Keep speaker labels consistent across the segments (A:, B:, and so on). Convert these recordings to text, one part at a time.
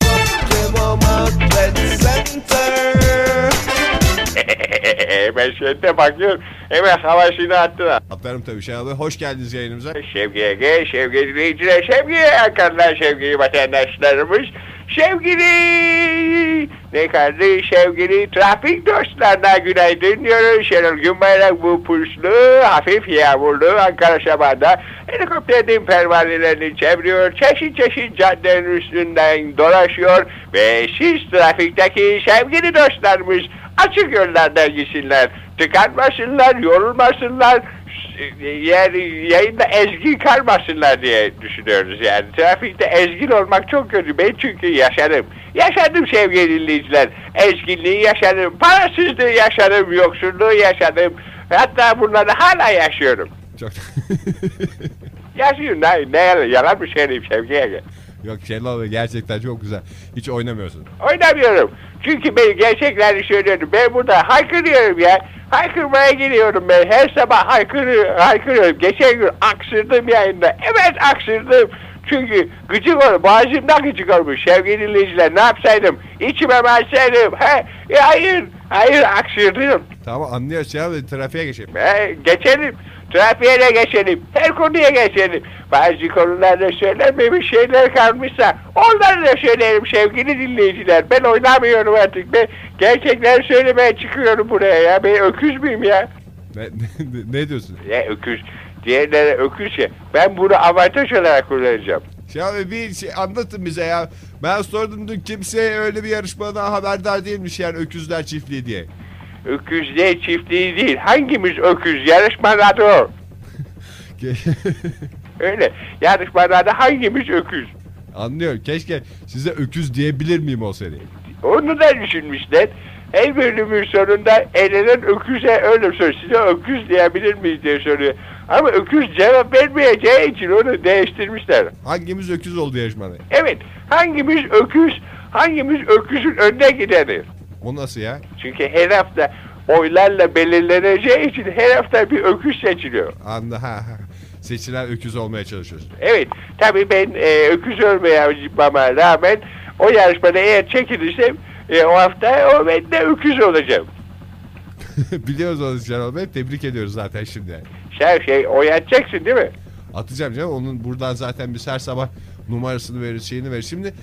A: hemen şöyle bakıyorum. Hemen havaşını attın.
B: Atlarım tabii Şenol Bey. şey Hoş geldiniz yayınımıza.
A: Şevki Ege, Şevki dinleyiciler, Şevki Erkanlar, Şevki vatandaşlarımız, Şevkili ne kardeş sevgili trafik dostlarına günaydın diyoruz. Şenol Günbayrak bu puslu, hafif yağmurlu Ankara sabahında helikopterin pervanelerini çeviriyor. Çeşit çeşit caddelerin üstünden dolaşıyor ve siz trafikteki sevgili dostlarımız açık yollardan gitsinler. Tıkanmasınlar, yorulmasınlar, yani yayında ezgin kalmasınlar diye düşünüyoruz yani. Trafikte ezgin olmak çok kötü. Ben çünkü yaşarım. Yaşadım sevgili dinleyiciler. Ezginliği yaşadım. Parasızlığı yaşadım. Yoksulluğu yaşadım. Hatta bunları hala yaşıyorum.
B: Çok...
A: Yaşıyorum. Ne, ne yalan- yalan mı söyleyeyim Sevgi'ye? gel.
B: Yok Şenol Bey gerçekten çok güzel. Hiç oynamıyorsun.
A: Oynamıyorum. Çünkü ben gerçekleri söylüyorum. Ben burada haykırıyorum ya. Haykırmaya gidiyorum ben. Her sabah haykırıyorum. haykırıyorum. Geçen gün aksırdım yayında. Evet aksırdım. Çünkü gıcık ol, boğazımda gıcık olmuş sevgili dinleyiciler. Ne yapsaydım? İçime basaydım. He, e, hayır, hayır aksırdım.
B: Tamam anlıyoruz Şenol Bey. Trafiğe geçelim.
A: He, geçelim. Trafiğe de geçelim. Her konuya geçelim. Bazı konularda söylenmemiş şeyler kalmışsa onları da söylerim sevgili dinleyiciler. Ben oynamıyorum artık. Ben gerçekler söylemeye çıkıyorum buraya ya. Ben öküz müyüm ya?
B: Ne, ne, ne diyorsun?
A: Ya öküz. Diğerleri öküz ya. Ben bunu avantaj olarak kullanacağım.
B: Şenol Bey bir şey anlatın bize ya. Ben sordum dün kimse öyle bir yarışmadan haberdar değilmiş yani öküzler çiftliği diye.
A: Öküzle çiftliği değil. Hangimiz öküz? Yarışmada adı o.
B: Ke-
A: Öyle. Yarışmada adı hangimiz öküz?
B: Anlıyorum. Keşke size öküz diyebilir miyim o seri?
A: Onu da düşünmüşler. Her bölümün sonunda elenen öküze öyle söz. Size öküz diyebilir miyiz diye soruyor. Ama öküz cevap vermeyeceği için onu değiştirmişler.
B: Hangimiz öküz oldu yarışmada?
A: Evet hangimiz öküz, hangimiz öküzün önüne gideriz.
B: O nasıl ya?
A: Çünkü her hafta oylarla belirleneceği için her hafta bir öküz seçiliyor.
B: Anla ha, ha. Seçilen öküz olmaya çalışıyorsun.
A: Evet tabii ben e, öküz ölmeye yapmama rağmen o yarışmada eğer çekilirsem e, o hafta o ben de öküz olacağım.
B: Biliyoruz onu Şenol Bey. Tebrik ediyoruz zaten şimdi.
A: Sen şey oyatacaksın değil mi?
B: Atacağım canım. Onun buradan zaten biz her sabah numarasını veririz, şeyini veririz. Şimdi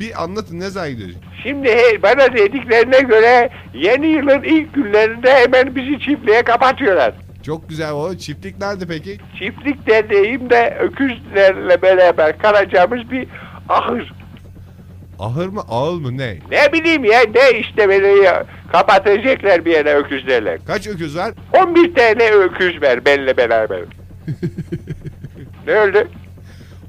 B: bir anlatın ne zaman gidiyor?
A: Şimdi he- bana dediklerine göre yeni yılın ilk günlerinde hemen bizi çiftliğe kapatıyorlar.
B: Çok güzel o. Çiftlik nerede peki?
A: Çiftlik dediğim de öküzlerle beraber kalacağımız bir ahır.
B: Ahır mı ağıl mı ne?
A: Ne bileyim ya ne işte beni ya- kapatacaklar bir yere öküzlerle.
B: Kaç öküz var?
A: 11 tane öküz ver benimle beraber. Ne öldü?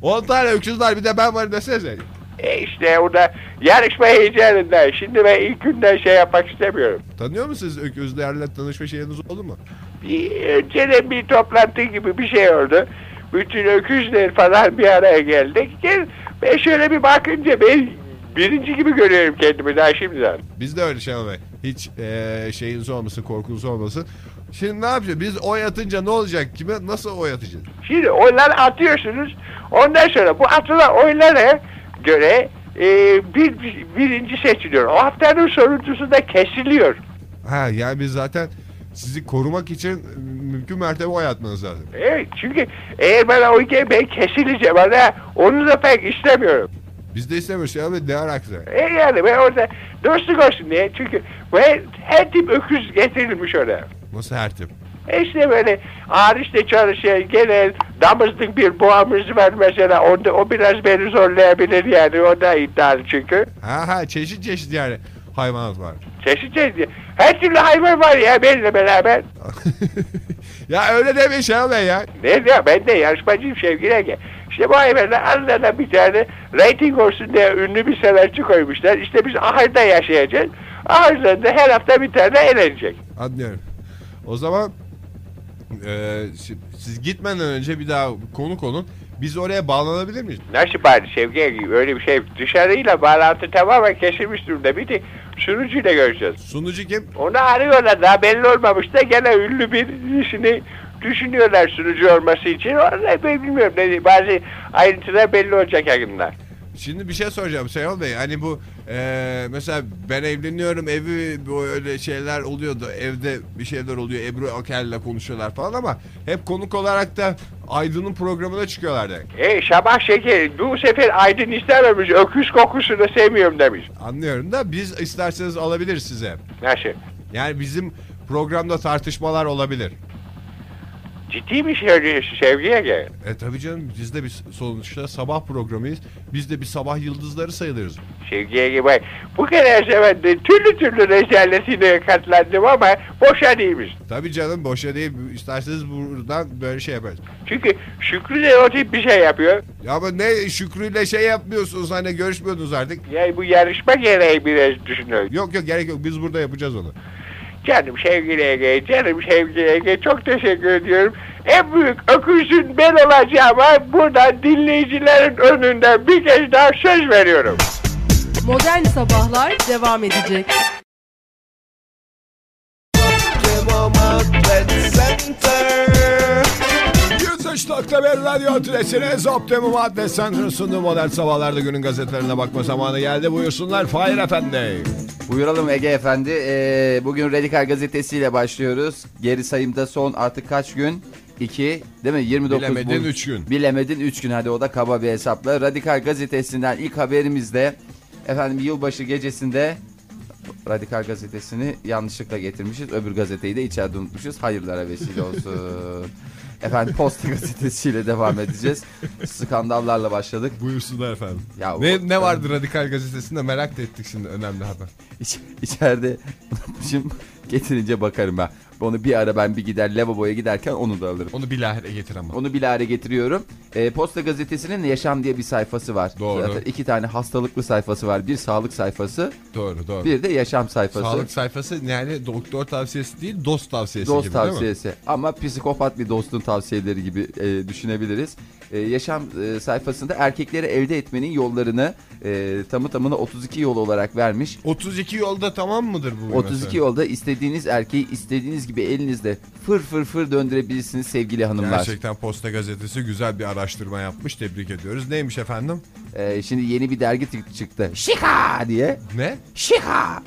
B: 10 tane öküz var bir de ben varım desene.
A: E işte o da yarışma heyecanından. Şimdi ben ilk günden şey yapmak istemiyorum.
B: Tanıyor musunuz öküzlerle tanışma şeyiniz oldu mu?
A: Bir, önceden bir toplantı gibi bir şey oldu. Bütün öküzler falan bir araya geldik. Gel, ben şöyle bir bakınca ben birinci gibi görüyorum kendimi daha şimdiden.
B: Biz de öyle Şenol Bey. Hiç eee, şeyiniz olmasın, korkunuz olmasın. Şimdi ne yapacağız? Biz oy atınca ne olacak? Kime nasıl oy atacağız?
A: Şimdi oyları atıyorsunuz. Ondan sonra bu atılan oylara göre e, bir, bir- birinci seçiliyor. O haftanın sonuncusu da kesiliyor.
B: Ha yani biz zaten sizi korumak için mümkün mertebe oy atmanız lazım.
A: Evet, çünkü eğer bana oy gel ben kesileceğim. Bana onu da pek istemiyorum.
B: Biz de istemiyoruz Şenol Bey. Ne alakası?
A: E yani ben orada dostluk olsun diye çünkü ve her tip öküz getirilmiş oraya.
B: Nasıl her tip?
A: E İşte böyle ağır işte çalışan genel damızlık bir boğamız var mesela onda, o biraz beni zorlayabilir yani o da iddialı çünkü.
B: Ha ha çeşit çeşit yani hayvanat var.
A: Çeşit çeşit her türlü hayvan var ya benimle beraber.
B: ya öyle demeyin Şenol Bey ya.
A: Ne diyor ben de yarışmacıyım sevgili Ege. İşte bu hayvanlar aralarına bir tane reyting olsun diye ünlü bir sanatçı koymuşlar. İşte biz ahırda yaşayacağız. Ahırlarında her hafta bir tane eğlenecek.
B: Anlıyorum. O zaman eee, şi- siz gitmeden önce bir daha konuk olun. Biz oraya bağlanabilir miyiz?
A: Nasıl bari sevgi öyle bir şey dışarıyla bağlantı tamamen kesilmiş durumda bir de sunucuyla göreceğiz.
B: Sunucu kim?
A: Onu arıyorlar daha belli olmamış da gene ünlü bir işini düşünüyorlar sunucu olması için. Orada ben bilmiyorum ne, bazı ayrıntılar belli olacak yakında.
B: Şimdi bir şey soracağım Şenol Bey. Hani bu eee, mesela ben evleniyorum evi böyle şeyler oluyordu. Evde bir şeyler oluyor. Ebru Aker'le konuşuyorlar falan ama hep konuk olarak da Aydın'ın programına çıkıyorlardı.
A: E Şabah Şeker bu sefer Aydın istememiş. Öküz kokusunu sevmiyorum demiş.
B: Anlıyorum da biz isterseniz alabilir size.
A: Nasıl?
B: Yani bizim programda tartışmalar olabilir.
A: Ciddi mi söylüyorsun Sevgi'ye gel?
B: E tabii canım biz de bir sonuçta sabah programıyız. Biz de bir sabah yıldızları sayılırız.
A: Sevgi'ye gel bak. Bu kadar zamanda türlü türlü rezaletine katlandım ama boşa değilmiş.
B: Tabii canım boşa değil. İsterseniz buradan böyle şey yaparız.
A: Çünkü Şükrü de o tip bir şey yapıyor.
B: Ya ama ne Şükrü'yle şey yapmıyorsunuz hani görüşmüyordunuz artık.
A: Yani bu yarışma gereği biraz düşünüyorum.
B: Yok yok gerek yok biz burada yapacağız onu.
A: Canım sevgili Ege, canım sevgili Ege çok teşekkür ediyorum. En büyük öküzün ben olacağım ama buradan dinleyicilerin önünde bir kez daha söz veriyorum.
C: Modern Sabahlar devam edecek.
D: Cevap Outlet Center
B: Yüzüstok'ta bir radyo adresine Zoptemum Adres Center'ın sunduğu modern sabahlarda günün gazetelerine bakma zamanı geldi. Buyursunlar Fahir Efendi.
E: Buyuralım Ege Efendi. Ee, bugün Radikal gazetesiyle başlıyoruz. Geri sayımda son artık kaç gün? 2 değil mi? 29
B: Bilemedin
E: bu-
B: üç gün.
E: Bilemedin 3 gün hadi o da kaba bir hesapla. Radikal gazetesinden ilk haberimizde efendim yılbaşı gecesinde Radikal gazetesini yanlışlıkla getirmişiz. Öbür gazeteyi de içeride unutmuşuz. Hayırlara vesile olsun. efendim Posta gazetesiyle devam edeceğiz. Skandallarla başladık.
B: Buyursunlar efendim.
E: Ya
B: ne,
E: bu-
B: ne vardı Radikal Gazetesi'nde merak da ettik şimdi önemli haber.
E: İç, içeride unutmuşum. Getirince bakarım ben. Onu bir ara ben bir gider lavaboya giderken onu da alırım.
B: Onu bilahare getir ama.
E: Onu bilahare getiriyorum. Ee, Posta gazetesinin Yaşam diye bir sayfası var.
B: Doğru.
E: Zaten iki tane hastalıklı sayfası var. Bir sağlık sayfası,
B: Doğru doğru.
E: bir de yaşam sayfası.
B: Sağlık sayfası yani doktor tavsiyesi değil dost tavsiyesi
E: Dost
B: gibi değil mi?
E: tavsiyesi. Ama psikopat bir dostun tavsiyeleri gibi e, düşünebiliriz. E, yaşam e, sayfasında erkekleri elde etmenin yollarını e, tamı tamına 32 yol olarak vermiş.
B: 32 yolda tamam mıdır bu?
E: 32
B: yol.
E: yolda istediğiniz erkeği istediğiniz gibi elinizle fır fır fır döndürebilirsiniz sevgili hanımlar.
B: Gerçekten Posta Gazetesi güzel bir araştırma yapmış. Tebrik ediyoruz. Neymiş efendim?
E: Ee, şimdi yeni bir dergi çık- çıktı. Şika diye.
B: Ne?
E: Şika.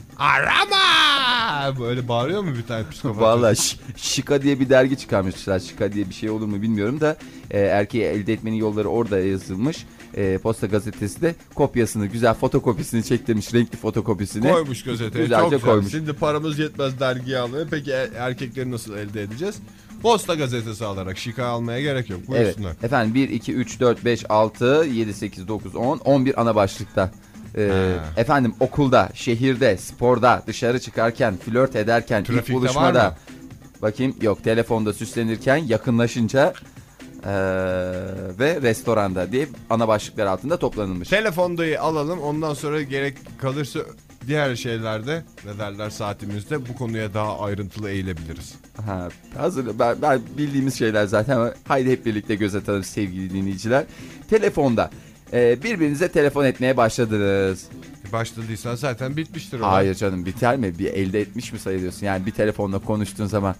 B: Arama! Böyle bağırıyor mu bir tane psikopat?
E: Valla ş- şika diye bir dergi çıkarmışlar. Şika diye bir şey olur mu bilmiyorum da e, erkeği elde etmenin yolları orada yazılmış. E, Posta gazetesi de kopyasını güzel fotokopisini çektirmiş renkli fotokopisini.
B: Koymuş gazeteye.
E: Güzelce
B: Çok güzel.
E: koymuş.
B: Şimdi paramız yetmez dergiye almaya. Peki e- erkekleri nasıl elde edeceğiz? Posta gazetesi alarak şika almaya gerek yok.
E: Evet.
B: Buyursunlar.
E: Efendim 1, 2, 3, 4, 5, 6, 7, 8, 9, 10, 11 ana başlıkta. Ee,
B: Ha.
E: efendim okulda, şehirde, sporda, dışarı çıkarken, flört ederken,
B: Trafikte var
E: ilk buluşmada.
B: mı?
E: Bakayım yok telefonda süslenirken, yakınlaşınca ee, ve restoranda diye ana başlıklar altında toplanılmış.
B: Telefonda alalım. Ondan sonra gerek kalırsa diğer şeylerde ne derler saatimizde bu konuya daha ayrıntılı eğilebiliriz.
E: Ha, hazır ben, ben bildiğimiz şeyler zaten. Haydi hep birlikte göz atalım sevgili dinleyiciler. Telefonda ee, birbirinize telefon etmeye başladınız.
B: Başladıysan E, zaten bitmiştir olay.
E: Hayır canım biter mi? Bir elde etmiş mi sayılıyorsun? Yani bir telefonla konuştuğun zaman.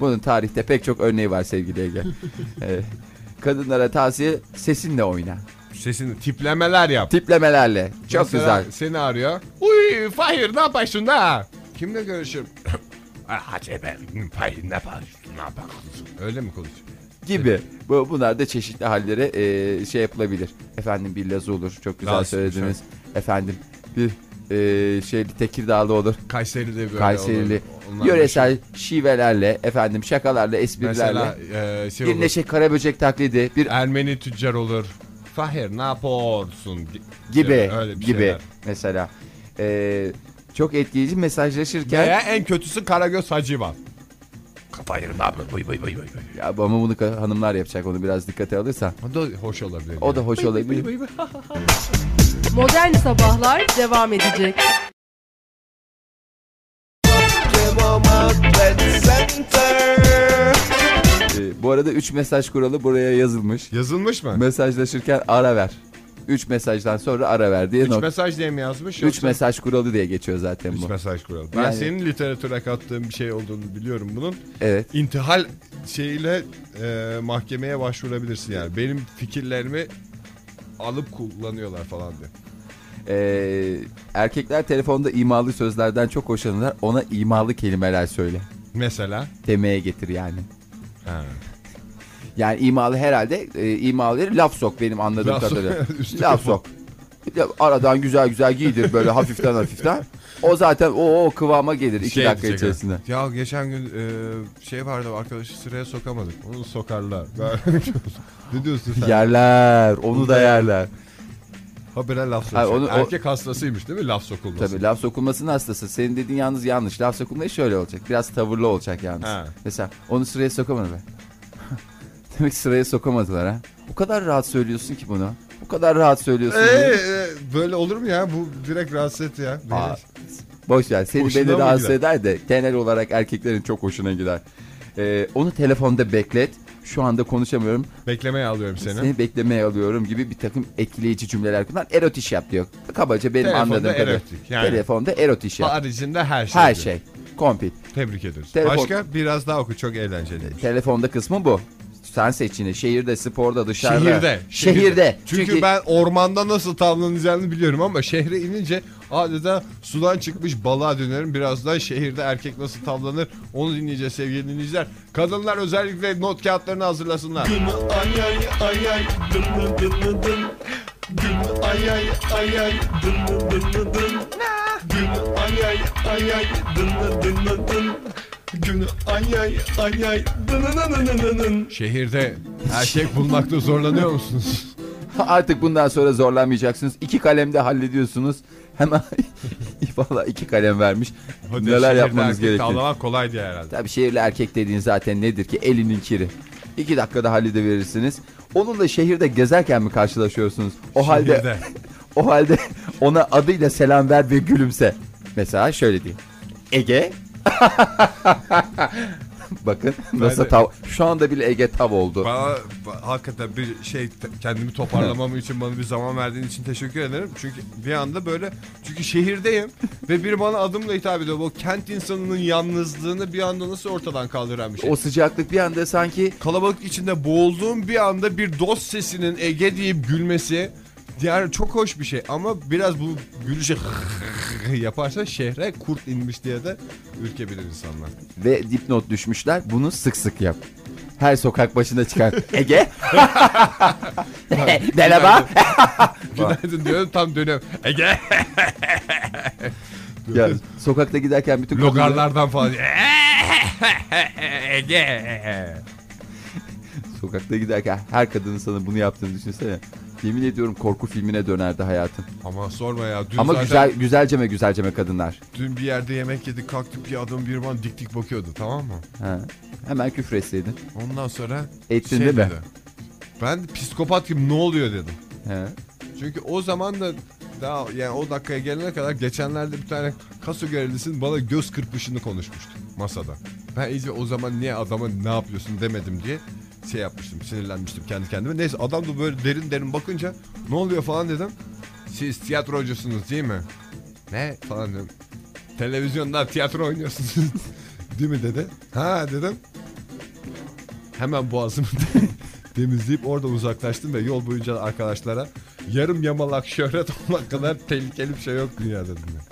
E: Bunun tarihte pek çok örneği var sevgili Ege. Ee, kadınlara tavsiye sesinle oyna.
B: Sesini tiplemeler yap.
E: Tiplemelerle. Çok
B: Mesela
E: güzel.
B: Seni arıyor. Uy Fahir ne yapıyorsun da? Kimle görüşürüm? Hacı ben Fahir ne yapıyorsun? Ne yapıyorsun? Öyle mi konuşuyor?
E: Gibi. Bu, bunlar da çeşitli hallere e, şey yapılabilir. Efendim bir Lazı olur. Çok güzel
B: Lazı,
E: söylediniz. Efendim bir e, şey Tekirdağlı olur.
B: Kayseri'de böyle
E: Kayserili.
B: olur. şey- Onlar
E: Yöresel şivelerle, efendim şakalarla, esprilerle.
B: Mesela e, şey
E: bir
B: olur.
E: Neşe Karaböcek taklidi, bir
B: Ermeni tüccar olur. Fahir ne yapıyorsun?
E: gibi
B: Öyle- öyle bir
E: gibi
B: şeyler.
E: mesela Ee, çok etkileyici mesajlaşırken
B: Veya E, en kötüsü Karagöz Hacı var.
E: ya ama bunu ka- hanımlar yapacak onu biraz dikkate alırsa
B: O da hoş olabilir.
E: o da hoş olabilir.
C: Modern Sabahlar devam edecek.
D: Cevap Outlet Center
E: Ee, bu arada 3 mesaj kuralı buraya yazılmış.
B: Yazılmış mı?
E: Mesajlaşırken ara ver. 3 mesajdan sonra ara ver diye
B: Üç
E: nok-
B: mesaj diye mi yazmış?
E: Üç mesaj kuralı diye geçiyor zaten bu.
B: 3 mesaj kuralı. Ben
E: Yani-
B: senin literatüre kattığın bir şey olduğunu biliyorum bunun.
E: Evet.
B: İntihal şeyiyle e, mahkemeye başvurabilirsin yani. Benim fikirlerimi alıp kullanıyorlar falan diye.
E: Ee, erkekler telefonda imalı sözlerden çok hoşlanırlar. Ona imalı kelimeler söyle.
B: Mesela.
E: Demeye getir yani.
B: Ha.
E: Yani imalı herhalde e, imalı herif laf sok benim anladığım
B: Laf sok.
E: kadarıyla.
B: Üstüne
E: laf sok. Ya, aradan güzel güzel giydir böyle hafiften hafiften. O zaten o, o kıvama gelir iki
B: Şey
E: dakika
B: diyecek
E: içerisinde.
B: Ya geçen gün e, şey vardı arkadaşı sıraya sokamadık. Onu sokarlar. ne diyorsun sen?
E: Yerler onu da yerler.
B: Habire laf
E: Hayır,
B: sokacak.
E: onu- o-
B: Erkek hastasıymış değil mi laf sokulması?
E: Tabii laf sokulmasının hastası. Senin dediğin yalnız yanlış. Laf sokulmayı şöyle olacak. Biraz tavırlı olacak yalnız.
B: Ha.
E: Mesela onu sıraya sokamadı be. Demek ki sıraya sokamadılar ha. Bu kadar rahat söylüyorsun ki bunu. Bu kadar rahat söylüyorsun.
B: Ee,
E: bunu.
B: e, böyle olur mu ya? Bu direkt rahatsız etti ya. Beni.
E: Aa, boş ver. Seni
B: Hoşuna
E: beni
B: mı
E: rahatsız
B: gider?
E: eder de genel olarak erkeklerin çok hoşuna gider. Ee, onu telefonda beklet. Şu anda konuşamıyorum.
B: Beklemeye alıyorum seni.
E: Seni beklemeye alıyorum gibi bir takım etkileyici cümleler kullan. Erotiş yap diyor. Kabaca benim
B: Telefonda
E: anladığım kadarıyla.
B: erotik yani.
E: Telefonda erotiş yap.
B: Haricinde her şey.
E: Her
B: diyor.
E: şey. Kompil.
B: Tebrik ederiz.
E: Telefon-
B: Başka biraz daha oku çok eğlenceli.
E: Telefonda kısmı bu. Sen seç yine. Şehirde, sporda, dışarıda.
B: Şehirde.
E: Şehirde.
B: Çünkü, ben ormanda nasıl tavlanacağını biliyorum ama şehre inince adeta sudan çıkmış balığa dönerim. Birazdan şehirde erkek nasıl tavlanır onu dinleyeceğiz sevgili dinleyiciler. Kadınlar özellikle not kağıtlarını hazırlasınlar.
D: ay ay ay ay dın dın dın dın dın. Dın ay ay ay ay dın dın dın dın dın. Dın ay ay ay ay dın dın dın dın dın. Dın ay ay ay ay dın dın dın dın dın dın.
B: Şehirde erkek bulmakta zorlanıyor musunuz?
E: Artık bundan sonra zorlanmayacaksınız. İki kalemde hallediyorsunuz. Hemen valla iki kalem vermiş.
B: Hadi
E: Neler
B: şehirde
E: yapmanız
B: erkek
E: gerekiyor.
B: Tavlamak kolay diye herhalde.
E: Tabii şehirli erkek dediğin zaten nedir ki? Elinin kiri. İki dakikada halledeverirsiniz. Onunla şehirde gezerken mi karşılaşıyorsunuz? O halde
B: Şehirde.
E: o halde ona adıyla selam ver ve gülümse. Mesela şöyle diyeyim. Ege. Bakın nasıl
B: de-
E: tav. Şu anda bile Ege tav oldu.
B: Bana ba- hakikaten bir şey te- kendimi toparlamam için bana bir zaman verdiğin için teşekkür ederim. Çünkü bir anda böyle çünkü şehirdeyim ve biri bana adımla hitap ediyor. Bu kent insanının yalnızlığını bir anda nasıl ortadan kaldıran bir şey.
E: O sıcaklık bir anda sanki
B: Kalabalık içinde boğulduğum bir anda bir dost sesinin Ege deyip gülmesi yani çok hoş bir şey ama biraz bu gülüşü yaparsa şehre kurt inmiş diye de ürkebilir insanlar.
E: ve dipnot düşmüşler. Bunu sık sık yap. Her sokak başına çıkan Ege. Merhaba.
B: Günaydın diyorum tam dönüyorum. Ege
E: ya, sokakta giderken bütün kadınlar-
B: logarlardan falan. Ege.
E: Sokakta giderken her kadının sana bunu yaptığını düşünsene. Yemin ediyorum korku filmine dönerdi hayatın.
B: Ama sorma ya. Dün
E: Ama
B: zaten
E: güzel güzelceme güzelceme kadınlar.
B: dün bir yerde yemek yedik kalktık bir adam bir bana dik dik bakıyordu tamam mı?
E: Ha. Hemen küfür etseydin.
B: Ondan sonra şey
E: Ettin değil mi?
B: dedi. Ben de psikopat gibi ne oluyor dedim.
E: He.
B: Çünkü o zaman da daha yani o dakikaya gelene kadar geçenlerde bir tane kaso görevlisinin bana göz kırpışını konuşmuştu masada. Ben iyice o zaman niye adama ne yapıyorsun demedim diye şey yapmıştım sinirlenmiştim kendi kendime. Neyse adam da böyle derin derin bakınca ne oluyor falan dedim. Siz tiyatrocusunuz değil mi? Ne falan dedim. Televizyonda tiyatro oynuyorsunuz değil mi dedi. Ha dedim. Hemen boğazımı temizleyip orada uzaklaştım ve yol boyunca arkadaşlara yarım yamalak şöhret olmak kadar tehlikeli bir şey yok dünyada dedim. ya.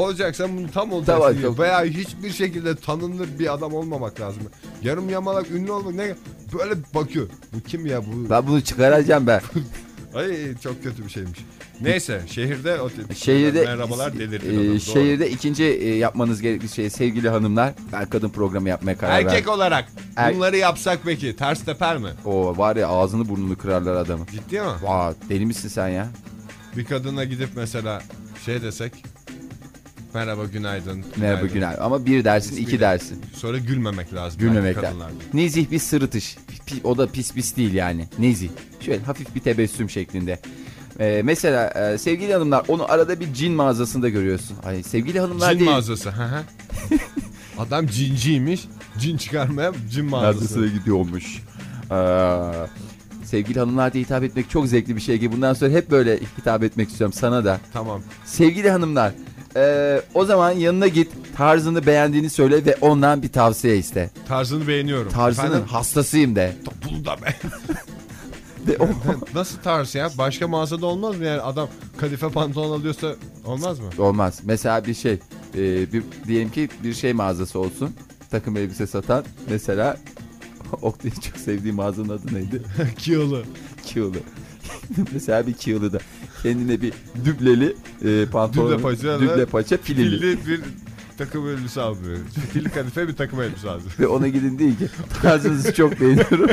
B: Olacaksan bunu tam olacaksın
E: Tamam,
B: ya.
E: çok-
B: veya hiçbir şekilde tanınır bir adam olmamak lazım. Yarım yamalak ünlü olmak ne böyle bakıyor. Bu kim ya bu?
E: Ben bunu çıkaracağım ben.
B: Ay çok kötü bir şeymiş. Neyse şehirde o tip-
E: Şehirde
B: merhabalar delirdi.
E: e, şehirde ikinci e, yapmanız gereken şey sevgili hanımlar ben kadın programı yapmaya karar
B: Erkek
E: verdim.
B: olarak
E: Er-
B: bunları yapsak peki ters teper mi?
E: O var ya ağzını burnunu kırarlar adamı.
B: Ciddi mi?
E: Vay deli misin sen ya?
B: Bir kadına gidip mesela şey desek merhaba günaydın.
E: Merhaba Günay. Ama bir dersin iki
B: İsmiyle.
E: dersin.
B: Sonra gülmemek lazım.
E: Gülmemek
B: erkek
E: lazım.
B: kadınlarda.
E: Nezih bir sırıtış. Pi- o da pis pis değil yani. Nezih. Şöyle hafif bir tebessüm şeklinde. Ee, mesela e, sevgili hanımlar onu arada bir cin mağazasında görüyorsun. Ay sevgili hanımlar
B: Cin
E: değil.
B: mağazası. hı hı. Adam cinciymiş. Cin çıkarmaya cin mağazası.
E: Mağazasına gidiyormuş. Aa, sevgili hanımlar diye hitap etmek çok zevkli bir şey ki bundan sonra hep böyle hitap etmek istiyorum sana da.
B: Tamam.
E: Sevgili hanımlar e, o zaman yanına git tarzını beğendiğini söyle ve ondan bir tavsiye iste.
B: Tarzını beğeniyorum.
E: Tarzının
B: Efendim?
E: hastasıyım de.
B: Ta- Bunu da be.
E: De- o-
B: Nasıl tarz ya? Başka mağazada olmaz mı yani? Adam kadife pantolon alıyorsa olmaz mı?
E: Olmaz. Mesela bir şey, e, bir, diyelim ki bir şey mağazası olsun. Takım elbise satan mesela Oktay'ın çok sevdiği mağazanın adı neydi?
B: Kiyolu.
E: Kiyılı. mesela bir Kiyılı da kendine bir dübleli e, pantolon,
B: Düble paça ve
E: düble paça filili.
B: Pilli bir takım elbise almıyor. Pilli kadife bir takım elbise aldı.
E: Ve ona gidin değil ki tarzınızı çok beğeniyorum.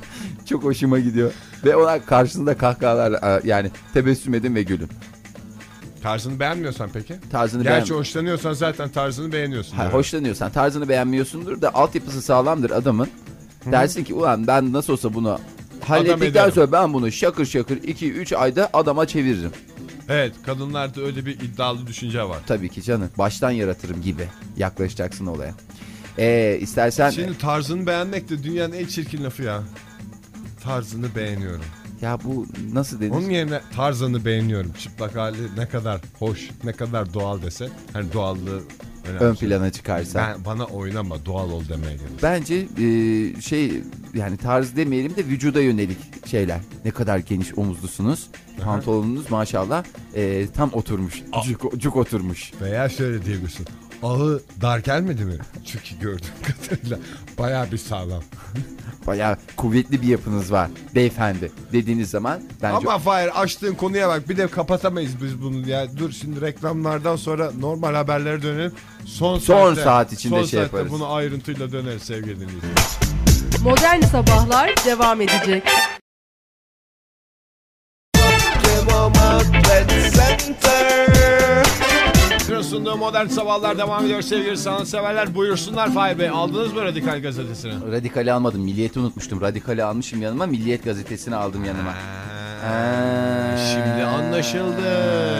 E: çok hoşuma gidiyor. Ve ona karşısında kahkahalar e, yani tebessüm edin ve gülün.
B: Tarzını beğenmiyorsan peki?
E: Tarzını beğen-
B: Gerçi hoşlanıyorsan zaten tarzını beğeniyorsun.
E: Ha,
B: diyorum.
E: hoşlanıyorsan tarzını beğenmiyorsundur da altyapısı sağlamdır adamın. Dersin ki ulan ben nasıl olsa bunu hallettikten
B: ederim."
E: sonra ben bunu şakır şakır 2-3 ayda adama çeviririm.
B: Evet kadınlarda öyle bir iddialı düşünce var.
E: Tabii ki canım baştan yaratırım gibi yaklaşacaksın olaya. Ee, istersen
B: Şimdi tarzını beğenmek de dünyanın en çirkin lafı ya. Tarzını beğeniyorum.
E: ya bu nasıl denir?
B: Onun yerine tarzını beğeniyorum. Çıplak hali ne kadar hoş, ne kadar doğal dese. Hani doğallığı önemli.
E: Ön plana çıkarsa.
B: Ben, bana oynama doğal ol demeye gelir.
E: Bence e, şey yani tarz demeyelim de vücuda yönelik şeyler. Ne kadar geniş omuzlusunuz. Pantolonunuz maşallah e, tam oturmuş. Cuk, cuk oturmuş.
B: Veya şöyle diyebilirsin. Ağı dar gelmedi mi? Çünkü gördüğüm kadarıyla baya bir sağlam.
E: Bayağı kuvvetli bir yapınız var beyefendi dediğiniz zaman bence
B: Ama Fahir açtığın konuya bak bir de kapatamayız biz bunu ya. Dur şimdi reklamlardan sonra normal haberlere dönelim. Son,
E: Son
B: saatte-
E: saat içinde
B: son
E: şey
B: saatte
E: yaparız.
B: bunu ayrıntıyla döneriz sevgili dinleyiciler.
C: Modern Sabahlar devam edecek.
B: Radyo'nun sunduğu modern sabahlar devam ediyor sevgili sanatseverler. Buyursunlar Fahir Bey. Aldınız mı Radikal Gazetesi'ni?
E: radikali almadım. Milliyeti unutmuştum. Radikali almışım yanıma. Milliyet gazetesini aldım yanıma. Ha.
B: şimdi anlaşıldı.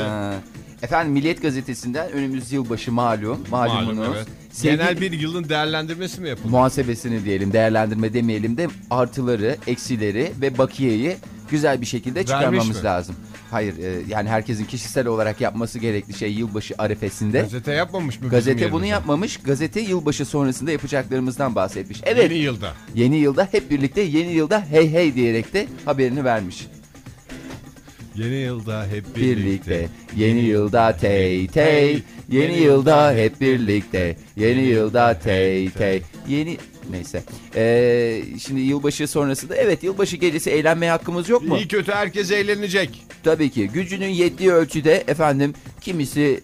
E: Ha. Efendim Milliyet gazetesinden önümüz yılbaşı malum. Malumunuz. Sevgili-
B: Genel bir yılın değerlendirmesi mi yapıldı?
E: muhasebesini diyelim değerlendirme demeyelim de artıları, eksileri ve bakiyeyi güzel bir şekilde çıkarmamız
B: mi?
E: lazım. Hayır e, yani herkesin kişisel olarak yapması gerekli şey yılbaşı arefesinde.
B: Gazete yapmamış mı? bizim
E: Gazete bunu
B: yerimize?
E: yapmamış. Gazete yılbaşı sonrasında yapacaklarımızdan bahsetmiş.
B: Yeni
E: Evet
B: yılda.
E: yeni yılda hep birlikte yeni yılda hey hey diyerek de haberini vermiş.
B: Yeni yılda hep
E: Birlikte yeni yılda tey tey yeni yılda hep birlikte yeni yılda tey tey yeni neyse Ee, şimdi yılbaşı sonrası da evet yılbaşı gecesi eğlenmeye hakkımız yok mu?
B: İyi kötü herkes eğlenecek.
E: Tabii ki gücünün yettiği ölçüde efendim kimisi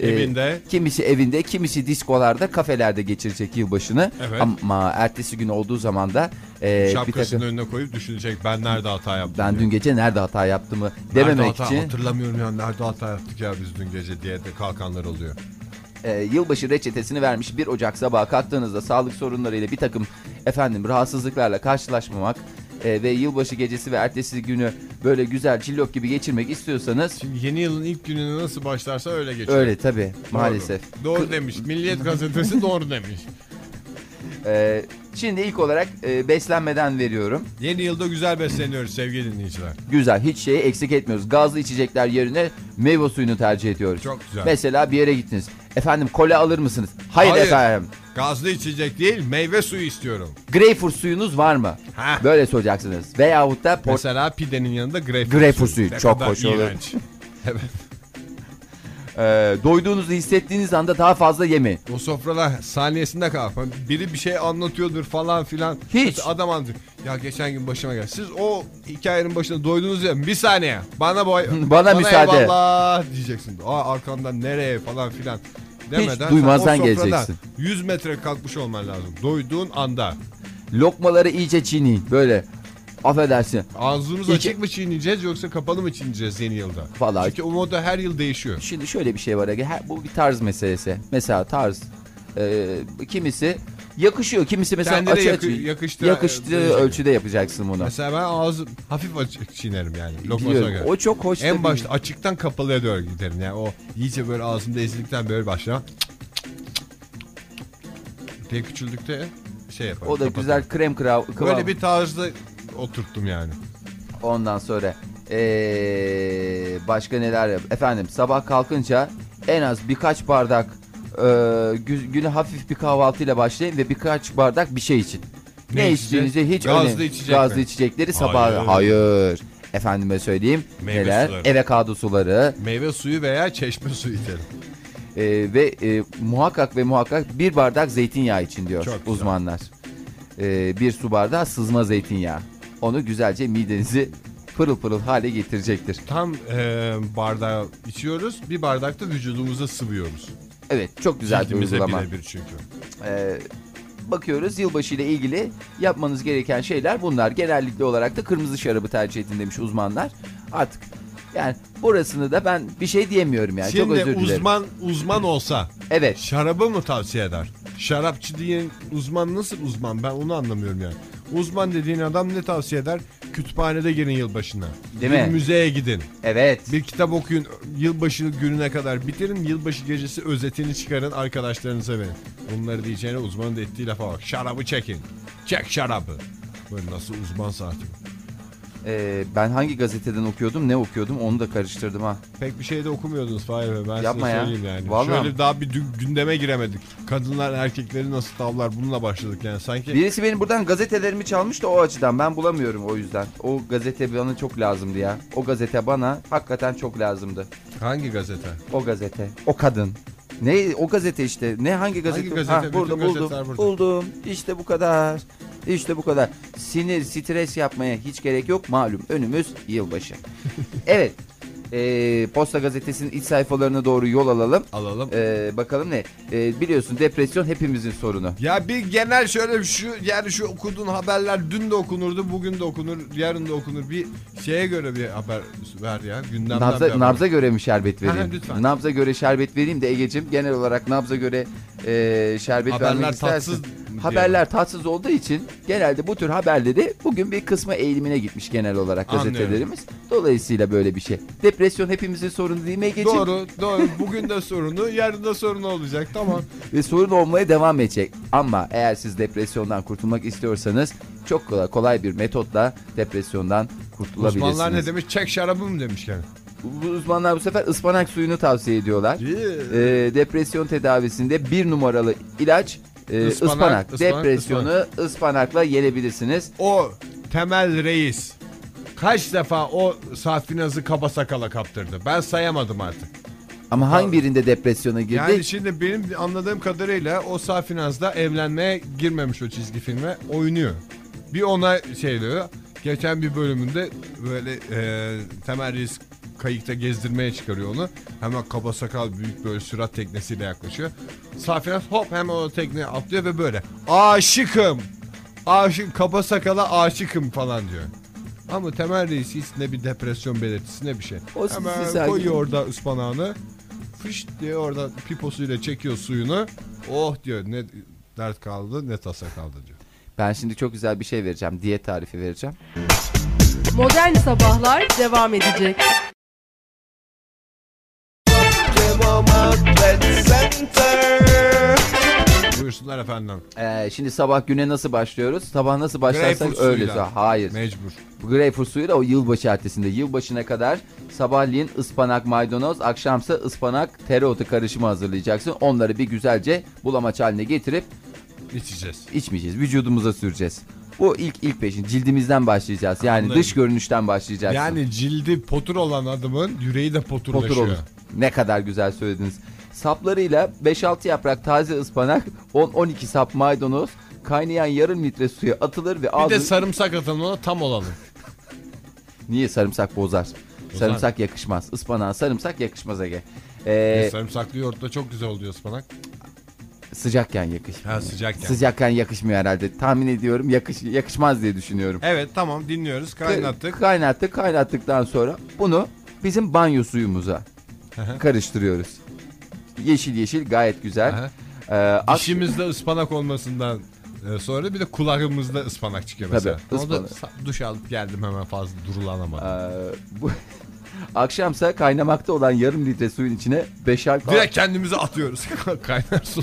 E: e,
B: Evinde.
E: kimisi evinde, kimisi diskolarda, kafelerde geçirecek yılbaşını.
B: Evet.
E: Ama ertesi gün olduğu zaman da e, bir
B: Şapkasını
E: takım-
B: önüne koyup düşünecek ben nerede hata yaptım.
E: ben
B: diye.
E: dün gece nerede hata yaptığımı
B: Nerede
E: dememek
B: hata-
E: için
B: Hatırlamıyorum ya nerede hata yaptık ya biz dün gece diye de kalkanlar oluyor.
E: e, yılbaşı reçetesini vermiş 1 Ocak sabahı kalktığınızda sağlık sorunlarıyla bir takım efendim rahatsızlıklarla karşılaşmamak e, ve yılbaşı gecesi ve ertesi günü böyle güzel cillop gibi geçirmek istiyorsanız
B: Şimdi yeni yılın ilk gününü nasıl başlarsa öyle geçiyor.
E: öyle tabi maalesef.
B: Doğru, Doğru demiş. Milliyet gazetesi doğru demiş.
E: E, şimdi ilk olarak e, beslenmeden veriyorum.
B: Yeni yılda güzel besleniyoruz sevgili dinleyiciler.
E: Güzel hiç şeyi eksik etmiyoruz. Gazlı içecekler yerine meyve suyunu tercih ediyoruz.
B: Çok güzel.
E: Mesela bir yere gittiniz. Efendim kola alır mısınız? Hayır,
B: Hayır.
E: efendim.
B: Gazlı içecek değil meyve suyu istiyorum.
E: Greyfurt suyunuz var mı?
B: Ha.
E: Böyle soracaksınız. Veyahut da port-
B: Mesela pidenin yanında greyfurt,
E: Greyfurt suyu,
B: Ne
E: çok
B: kadar
E: hoş olur.
B: iğrenç. evet.
E: Ee, doyduğunuzu hissettiğiniz anda daha fazla yemeyin.
B: O sofralar saniyesinde kalk. Biri bir şey anlatıyordur falan filan.
E: Hiç.
B: Adam anlatıyor. Ya geçen gün başıma geldi. Siz o hikayenin başına doydunuz ya. Bir saniye. Bana boy.
E: Bana müsaade.
B: eyvallah diyeceksin. Aa arkandan nereye falan filan. Demeden sen
E: duymazdan
B: o sofradan
E: geleceksin.
B: 100 metre kalkmış olman lazım. Doyduğun anda.
E: Lokmaları iyice çiğneyin böyle. Affedersin.
B: Ağzımız
E: İki-
B: açık mı çiğneyeceğiz yoksa kapalı mı çiğneyeceğiz yeni yılda?
E: Vallahi-
B: Çünkü o moda her yıl değişiyor.
E: Şimdi şöyle bir şey var Ege. her- Bu bir tarz meselesi. Mesela tarz. ee, kimisi yakışıyor. Kimisi mesela
B: Kendine
E: açı-
B: yakı-
E: açı-
B: yakıştığı-
E: yakıştığı
B: e,
E: ölçüde yapacaksın bunu.
B: Mesela ben ağzım hafif açık çiğnerim yani. Lokmasına
E: Biliyorum.
B: göre.
E: O çok hoş.
B: En
E: tabii.
B: başta açıktan kapalıya doğru giderim yani o iyice böyle ağzımda ezildikten böyle başla. Diye küçüldükte şey yaparım.
E: O da
B: kapatırım.
E: güzel krem krav kıvamı.
B: Böyle bir tarzda oturttum yani.
E: Ondan sonra ee, başka neler yap? Efendim sabah kalkınca en az birkaç bardak ee, gü- günü hafif bir kahvaltıyla başlayın ve birkaç bardak bir şey için. Ne,
B: Ne
E: içtiğinizi
B: içeceğiz?
E: hiç
B: Gazlı
E: önemli.
B: içecek
E: Gazlı
B: mi?
E: içecekleri sabah.
B: Hayır.
E: Hayır. Efendime söyleyeyim.
B: Meyve
E: neler?
B: suları.
E: Evekado suları
B: Meyve suyu veya çeşme suyu içelim.
E: e, ve e, muhakkak ve muhakkak bir bardak zeytinyağı için diyor
B: Çok güzel.
E: uzmanlar. E, bir su bardağı sızma zeytinyağı. Onu güzelce midenizi pırıl pırıl hale getirecektir.
B: Tam e, bardağı içiyoruz. Bir bardak da vücudumuza sıvıyoruz.
E: Evet çok güzel bir
B: Cildimize
E: uygulama.
B: birebir çünkü.
E: Ee, bakıyoruz yılbaşı ile ilgili yapmanız gereken şeyler bunlar. Genellikle olarak da kırmızı şarabı tercih edin demiş uzmanlar. Artık yani burasını da ben bir şey diyemiyorum yani çok
B: Şimdi
E: özür dilerim.
B: uzman uzman olsa
E: Evet
B: E, şarabı mı tavsiye eder? Şarapçı diyen uzman nasıl uzman? Ben onu anlamıyorum yani. Uzman dediğin adam ne tavsiye eder? Kütüphanede girin yılbaşına.
E: Değil
B: bir
E: mi?
B: müzeye gidin.
E: evet
B: Bir kitap okuyun. Yılbaşı gününe kadar bitirin. Yılbaşı gecesi özetini çıkarın arkadaşlarınıza verin. Bunları diyeceğine uzmanın da ettiği lafa bak. Şarabı çekin. Çek şarabı. Böyle nasıl uzman saati.
E: Ee, ben hangi gazeteden okuyordum ne okuyordum onu da karıştırdım ha.
B: Pek bir şey de okumuyordunuz Fahir Bey. Ben
E: Yapma
B: size
E: ya.
B: söyleyeyim yani.
E: Vallahi.
B: Şöyle daha bir dün- gündeme giremedik. Kadınlar erkekleri nasıl tavlar bununla başladık yani. Sanki
E: Birisi benim buradan gazetelerimi çalmış da o açıdan ben bulamıyorum o yüzden. O gazete bana çok lazımdı ya. O gazete bana hakikaten çok lazımdı.
B: hangi gazete?
E: O gazete. O kadın. Ne o gazete işte. Ne hangi gazete?
B: gazete?
E: Ha,
B: Bütün
E: burada buldum.
B: gazeteler burada.
E: Buldum. İşte bu kadar. İşte bu kadar. Sinir, stres yapmaya hiç gerek yok. Malum önümüz yılbaşı. evet. Ee, Posta gazetesinin iç sayfalarına doğru yol alalım.
B: Alalım.
E: Ee, bakalım ne? Ee, biliyorsun depresyon hepimizin sorunu.
B: Ya bir genel şöyle şu yani şu okuduğun haberler dün de okunurdu, bugün de okunur, yarın da okunur. Bir şeye göre bir haber ver ya. Gündemden bir
E: Nabza,
B: haber.
E: nabza göre mi şerbet
B: Ha, ha,
E: vereyim?
B: lütfen.
E: Nabza göre şerbet vereyim de Ege'cim genel olarak nabza göre e, şerbet
B: Haberler
E: vermek istersin.
B: tatsız diye.
E: Haberler tatsız olduğu için genelde bu tür haberleri bugün bir kısma eğilimine gitmiş genel olarak
B: Anlıyorum.
E: gazetelerimiz. Dolayısıyla böyle bir şey. Depresyon hepimizin sorunu değil mi Ege'cim?
B: Doğru, doğru. Bugün de sorunu, yarın da sorun olacak. Tamam.
E: Ve sorun olmaya devam edecek. Ama eğer siz depresyondan kurtulmak istiyorsanız çok kolay, kolay bir metotla depresyondan kurtulabilirsiniz.
B: Uzmanlar ne demiş? Çek şarabı mı demiş yani?
E: Bu Uzmanlar bu sefer ıspanak suyunu tavsiye ediyorlar. Ee, depresyon tedavisinde bir numaralı ilaç e,
B: Ispanak,
E: ıspanak,
B: ıspanak,
E: Depresyonu ıspanakla yenebilirsiniz.
B: O Temel Reis kaç defa o Safinaz'ı kaba sakala kaptırdı? Ben sayamadım artık.
E: Ama hangi birinde depresyona girdi?
B: Yani şimdi benim anladığım kadarıyla o Safinaz da evlenmeye girmemiş o çizgi filme. Oynuyor. Bir ona şey diyor. Geçen bir bölümünde böyle e, Temel Reis kayıkta gezdirmeye çıkarıyor onu. Hemen kaba sakal büyük böyle sürat teknesiyle yaklaşıyor. Safinaz hop hemen o tekneye atlıyor ve böyle aşıkım. Aşık kaba sakala aşıkım falan diyor. Ama Temel Reis hiç ne bir depresyon belirtisi ne bir şey.
E: O sizi
B: hemen
E: sakin-
B: koyuyor orada ıspanağını. Fış diye orada piposuyla çekiyor suyunu. Oh diyor ne dert kaldı ne tasa kaldı diyor.
E: Ben şimdi çok güzel bir şey vereceğim. Diyet tarifi vereceğim.
C: Modern Sabahlar devam edecek.
B: Buyursunlar efendim.
E: Ee, şimdi sabah güne nasıl başlıyoruz? Sabah nasıl başlarsak
B: Greyfurt
E: öyle.
B: suyuyla.
E: Hayır.
B: Mecbur.
E: Bu Greyfurt suyu da o yılbaşı ertesinde. Yılbaşına kadar sabahleyin ıspanak maydanoz, akşamsa ıspanak tereotu karışımı hazırlayacaksın. Onları bir güzelce bulamaç haline getirip
B: İçeceğiz.
E: içmeyeceğiz. Vücudumuza süreceğiz. Bu ilk ilk peşin cildimizden başlayacağız. Yani
B: Anladım.
E: dış görünüşten başlayacaksın.
B: Yani cildi potur olan adamın yüreği de poturlaşıyor.
E: Potur olur. Ne kadar güzel söylediniz. Saplarıyla 5-6 yaprak taze ıspanak, 10-12 sap maydanoz, kaynayan yarım litre suya atılır
B: Bir
E: ve
B: de
E: ağzın...
B: sarımsak atalım ona tam olalım.
E: Niye sarımsak bozar? Sarımsak yakışmaz. Ispanağa sarımsak yakışmaz Ege. Ee,
B: Sarımsaklı yoğurtla çok güzel oluyor ıspanak.
E: sıcakken yakışmıyor.
B: Ha sıcakken.
E: Sıcakken yakışmıyor herhalde. Tahmin ediyorum yakış yakışmaz diye düşünüyorum.
B: Evet tamam dinliyoruz kaynattık.
E: Kaynattık. Kaynattıktan sonra bunu bizim banyo suyumuza
B: hı.
E: karıştırıyoruz. Yeşil yeşil gayet güzel.
B: Aha.
E: Ee, ak-
B: Dişimizde ıspanak olmasından e, sonra bir de kulağımızda ıspanak çıkıyor
E: Tabii,
B: mesela. Orada
E: ıspanak.
B: sa- duş alıp geldim hemen fazla durulanamadım.
E: Ee, bu akşamsa kaynamakta olan yarım litre suyun içine beşer
B: Direkt kendimizi atıyoruz kaynar su.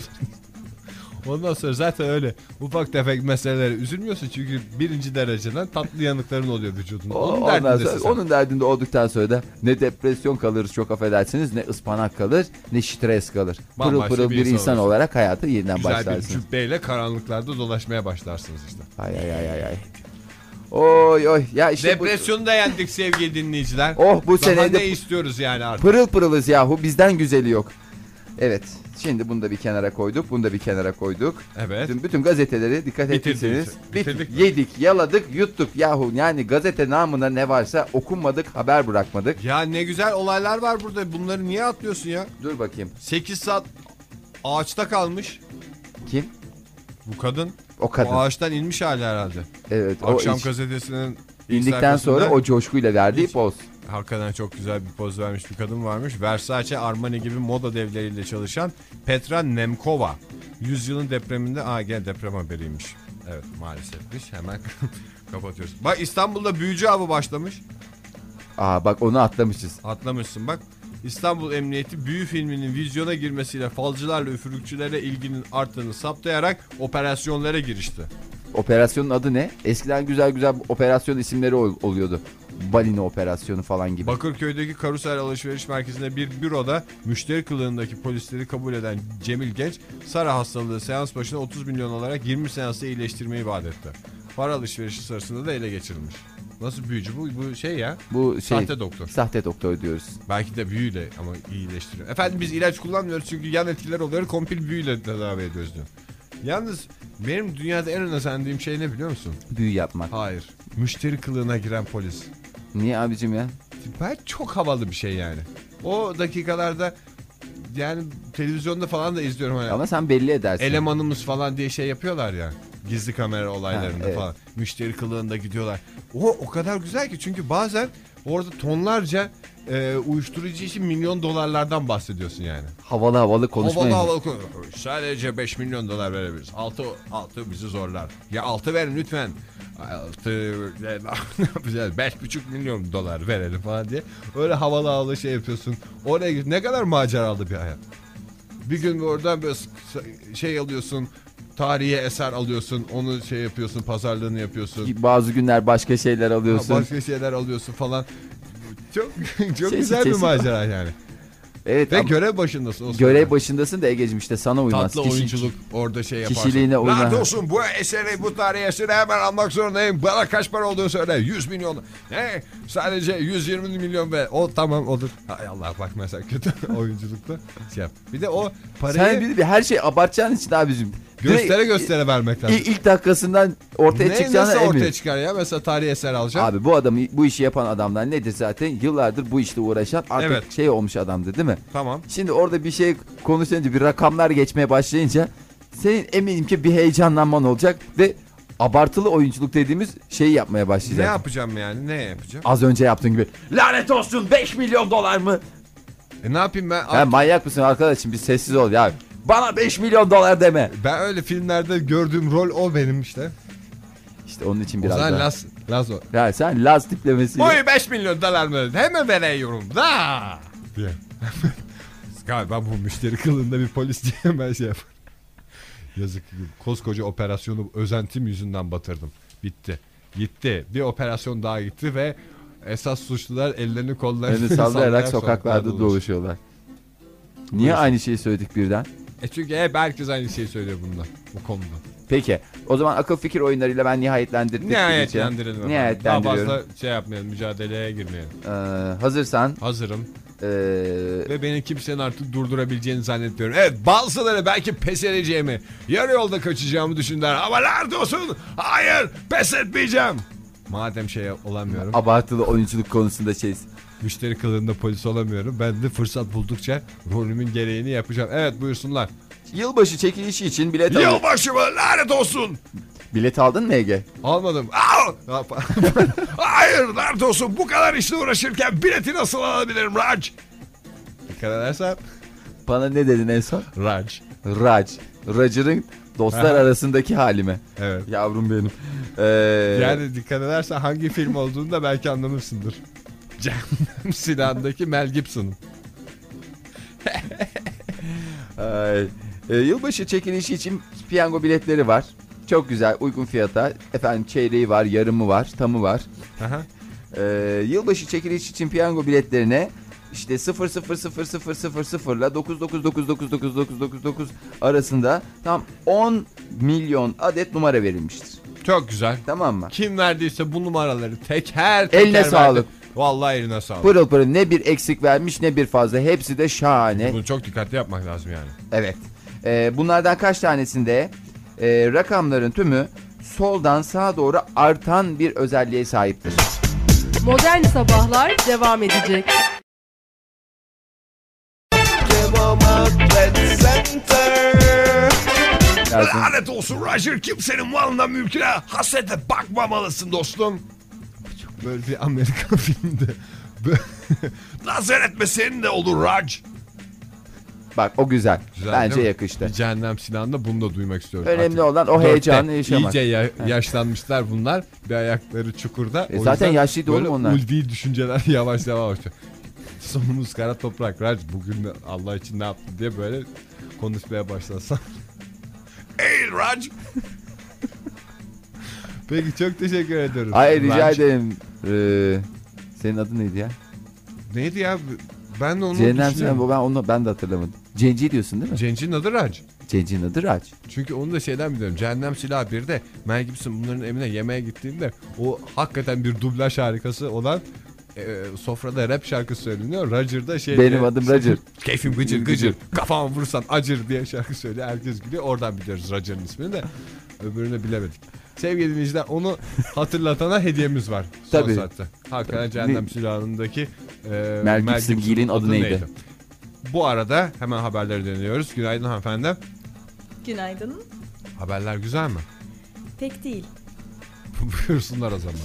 B: Ondan sonra zaten öyle ufak tefek meselelere üzülmüyorsun çünkü birinci dereceden tatlı yanıkların oluyor vücudunda.
E: O-
B: Onun
E: ondan
B: derdindesin
E: sonra-
B: sen.
E: onun derdinde olduktan sonra da ne depresyon kalırız çok affedersiniz ne ıspanak kalır ne stres kalır. Pırıl
B: Bambaşka
E: pırıl
B: bir
E: bir,
B: insan
E: insan,
B: olursun.
E: olarak hayata yeniden
B: Güzel bir
E: başlarsınız.
B: cübbeyle karanlıklarda dolaşmaya başlarsınız işte.
E: Ay ay ay ay ay. Oy oy ya işte
B: Depresyonu da yendik sevgili dinleyiciler.
E: Oh, bu
B: Daha
E: sene de-
B: ne istiyoruz yani artık?
E: bu pırıl pırılız yahu bizden güzeli yok. Evet şimdi bunu da bir kenara koyduk bunu da bir kenara koyduk.
B: Evet.
E: Bütün, bütün gazeteleri dikkat
B: Bitirdiniz.
E: ettiyseniz bit-
B: Bitirdik mi?
E: yedik yaladık yuttuk yahu yani gazete namına ne varsa okunmadık haber bırakmadık.
B: Ya ne güzel olaylar var burada. Bunları niye atlıyorsun ya?
E: Dur bakayım
B: 8 saat ağaçta kalmış
E: kim?
B: bu kadın.
E: O kadın.
B: O ağaçtan inmiş hali herhalde.
E: evet o
B: Akşam
E: iç-
B: gazetesinin ilk
E: indikten sonra
B: sayfasında
E: o coşkuyla verdiği
B: Hiç-
E: poz.
B: hakikaten çok güzel bir poz vermiş bir kadın varmış. Versace, Armani gibi moda devleriyle çalışan Petra Nemkova. Yüzyılın depreminde aa gel deprem haberiymiş. Evet maalesefmiş. Hemen kapatıyoruz. Bak İstanbul'da büyücü avı başlamış.
E: Aa bak onu atlamışız.
B: Atlamışsın bak. İstanbul Emniyeti büyü filminin vizyona girmesiyle falcılarla üfürükçülere ilginin arttığını saptayarak operasyonlara girişti.
E: Operasyonun adı ne? Eskiden güzel güzel operasyon isimleri ol- oluyordu. Balina operasyonu falan gibi.
B: Bakırköy'deki Karusel Alışveriş Merkezi'nde bir büroda müşteri kılığındaki polisleri kabul eden Cemil Genç, Sara hastalığı seans başına 30 milyon olarak 20 seansta iyileştirmeyi vaat etti. Para alışverişi sırasında da ele geçirilmiş. Nasıl büyücü bu? Bu şey ya.
E: Bu şey
B: Sahte doktor.
E: Sahte doktor diyoruz.
B: Belki de büyüyle ama iyileştiriyor. Efendim biz ilaç kullanmıyoruz çünkü yan etkiler oluyor. Kompil büyüyle tedavi ediyoruz diyor. Yalnız benim dünyada en önemsendiğim şey ne biliyor musun?
E: Büyü yapmak.
B: Hayır. Müşteri kılığına giren polis.
E: Niye abicim ya?
B: Ben çok havalı bir şey yani. O dakikalarda yani televizyonda falan da izliyorum hani.
E: Ama sen belli edersin.
B: Elemanımız falan diye şey yapıyorlar ya. Gizli kamera olaylarında
E: Ha, evet.
B: falan. Müşteri kılığında gidiyorlar. O o kadar güzel ki çünkü bazen orada tonlarca e, uyuşturucu için milyon dolarlardan bahsediyorsun yani.
E: havalı havalı konuşmayın.
B: Havalı havalı konu- Sadece 5 milyon dolar verebiliriz. 6 altı bizi zorlar. Ya 6 verin lütfen. 6 ne yapacağız? 5,5 milyon dolar verelim falan diye. Öyle havalı havalı şey yapıyorsun. Oraya git- ne kadar maceralı bir hayat. Bir gün oradan böyle s- s- şey alıyorsun. Tarihi eser alıyorsun. Onu şey yapıyorsun, pazarlığını yapıyorsun.
E: Bazı günler başka şeyler alıyorsun.
B: Başka şeyler alıyorsun falan. Çok çok
E: Çeşit
B: güzel bir
E: çeşit.
B: macera yani.
E: Evet
B: Ve
E: ama
B: görev başındasın. o sırada.
E: görev başındasın da Ege'cim işte sana uymaz.
B: Tatlı
E: Kişi-
B: oyunculuk orada şey yaparsın.
E: Kişiliğine uyma.
B: Lanet olsun bu eseri bu tarih eseri hemen almak zorundayım. Bana kaç para olduğunu söyle. 100 milyon. Ne? Sadece 120 milyon ve o tamam olur. Hay Allah bak mesela kötü oyunculukta şey yap. Bir de o parayı
E: Sen bir, bir her şey abartacağın için abicim.
B: göstere
E: Direkt-
B: göstere vermek lazım.
E: İ- ilk dakikasından ortaya
B: ne
E: çıkacağına
B: nasıl
E: emin.
B: ortaya çıkar ya? Mesela tarih eser alacağım.
E: Abi bu adam bu işi yapan adamlar nedir zaten? Yıllardır bu işte uğraşan artık
B: Evet.
E: şey olmuş adamdı değil mi?
B: Tamam.
E: Şimdi orada bir şey konuşunca bir rakamlar geçmeye başlayınca senin eminim ki bir heyecanlanman olacak ve abartılı oyunculuk dediğimiz şeyi yapmaya
B: Ne
E: başlayacak.
B: yapacağım yani? Ne yapacağım?
E: Az önce yaptığın gibi. Lanet olsun 5 milyon dolar mı?
B: E ne yapayım ben?
E: Ha, manyak mısın arkadaşım bir sessiz ol ya. Bana 5 milyon dolar deme.
B: Ben öyle filmlerde gördüğüm rol o benim işte.
E: İşte onun için
B: O
E: biraz
B: zaman
E: daha.
B: Laz, Laz o.
E: Ya sen Laz tiplemesi.
B: Boyu 5 milyon dolar mı? Hemen vereyim da. Diye. Galiba bu müşteri kılığında bir polis diye ben şey yaparım. Yazık. Koskoca operasyonu özentim yüzünden batırdım. Bitti. Gitti. Bir operasyon daha gitti ve esas suçlular ellerini kollarını
E: Elini sallayarak sokaklarda
B: dolaşıyor.
E: dolaşıyorlar. Niye aynı şeyi söyledik birden?
B: E çünkü hep herkes aynı şeyi söylüyor bunda. Bu konuda.
E: Peki. O zaman akıl fikir oyunlarıyla ben nihayetlendirdim.
B: Nihayetlendirelim. efendim. Daha
E: Nihayetlendiriyorum.
B: fazla şey yapmayalım. Mücadeleye girmeyelim.
E: Ee, hazırsan
B: Hazırım.
E: ee,
B: Ve beni kimsenin artık durdurabileceğini zannetmiyorum. Evet bazıları belki pes edeceğimi, yarı yolda kaçacağımı düşündüler. Ama nerede olsun? Hayır pes etmeyeceğim. Madem şey olamıyorum,
E: abartılı oyunculuk konusunda şeyiz.
B: müşteri kılığında polis olamıyorum. Ben de fırsat buldukça rolümün gereğini yapacağım. Evet buyursunlar.
E: Yılbaşı çekilişi için bilet aldın.
B: Yılbaşı mı? Lanet olsun.
E: Bilet aldın mı Ege?
B: Almadım. Al! Hayır lanet olsun. Bu kadar işle uğraşırken bileti nasıl alabilirim Raj? Dikkat edersen
E: Bana ne dedin en son?
B: Raj.
E: Raj. Raj'ın dostlar
B: Aha.
E: arasındaki halime.
B: Evet.
E: Yavrum benim. Ee,
B: Yani dikkat edersen hangi film olduğunu da belki anlamışsındır. Cehennem Silahı'ndaki Mel Gibson'ın.
E: ay, Ee, yılbaşı çekilişi için piyango biletleri var. Çok güzel uygun fiyata. Efendim çeyreği var, yarımı var, tamı var.
B: Aha.
E: Ee, yılbaşı çekiliş için piyango biletlerine işte 00000 ile 9999999 arasında tam 10 milyon adet numara verilmiştir.
B: Çok güzel.
E: Tamam mı?
B: Kim verdiyse bu numaraları teker teker
E: Eline
B: verdi.
E: sağlık.
B: Vallahi eline sağlık.
E: Pırıl pırıl ne bir eksik vermiş ne bir fazla. Hepsi de şahane.
B: Bunu çok dikkatli yapmak lazım yani.
E: Evet. Ee, bunlardan kaç tanesinde e, rakamların tümü soldan sağa doğru artan bir özelliğe sahiptir.
C: Modern Sabahlar devam edecek.
E: Dersin.
B: Lanet olsun Roger kimsenin malına mülküne hasrete bakmamalısın dostum. Bu Çok böyle bir Amerikan filminde. Böyle- Nazar etme senin de olur Raj.
E: Bak o güzel.
B: Güzel
E: Bence
B: değil mi?
E: yakıştı.
B: Bir Cehennem Sinan'da bunu da duymak istiyorum.
E: Önemli
B: Artık
E: olan o
B: dörtte
E: heyecanı yaşamak.
B: İyice ya- yaşlanmışlar bunlar. Bir ayakları çukurda.
E: E
B: O
E: zaten
B: yüzden
E: yaşlıydı oğlum
B: böyle
E: onlar.
B: ulvi düşünceler yavaş yavaş başlıyor. Sonumuz kara toprak Raj bugün Allah için ne yaptı diye böyle konuşmaya başlasan. Ey Raj! Peki çok teşekkür ederim.
E: Hayır rica
B: Raj.
E: ederim. Ee, senin adın neydi ya?
B: Neydi ya? Ben de onu
E: Cehennem Sinan
B: düşünüyorum.
E: bu ben onu ben de hatırlamadım. Cenci diyorsun değil mi?
B: Cenci'nin adı Raj.
E: Cenci'nin adı Raç.
B: Çünkü onu da şeyden biliyorum. Cehennem Silahı 1'de Mel Gibson bunların evine yemeğe gittiğinde o hakikaten bir dublaj harikası olan e, sofrada rap şarkı söyleniyor. Roger da şey
E: Benim
B: e,
E: adım Roger.
B: Keyfim gıcır gıcır. Kafama vursan acır diye şarkı söylüyor. Herkes gülüyor. Oradan biliyoruz Roger'ın ismini de. Öbürünü bilemedik. Sevgili dinleyiciler onu hatırlatana hediyemiz var. Son
E: Tabii.
B: saatte. Hakikaten
E: Tabii.
B: Cehennem Silahı'ndaki e,
E: Mel Gibson Gill'in adı neydi?
B: Bu arada hemen haberleri deniyoruz. Günaydın hanımefendi.
F: Günaydın.
B: Haberler güzel mi?
F: Pek değil.
B: Buyursunlar o zaman.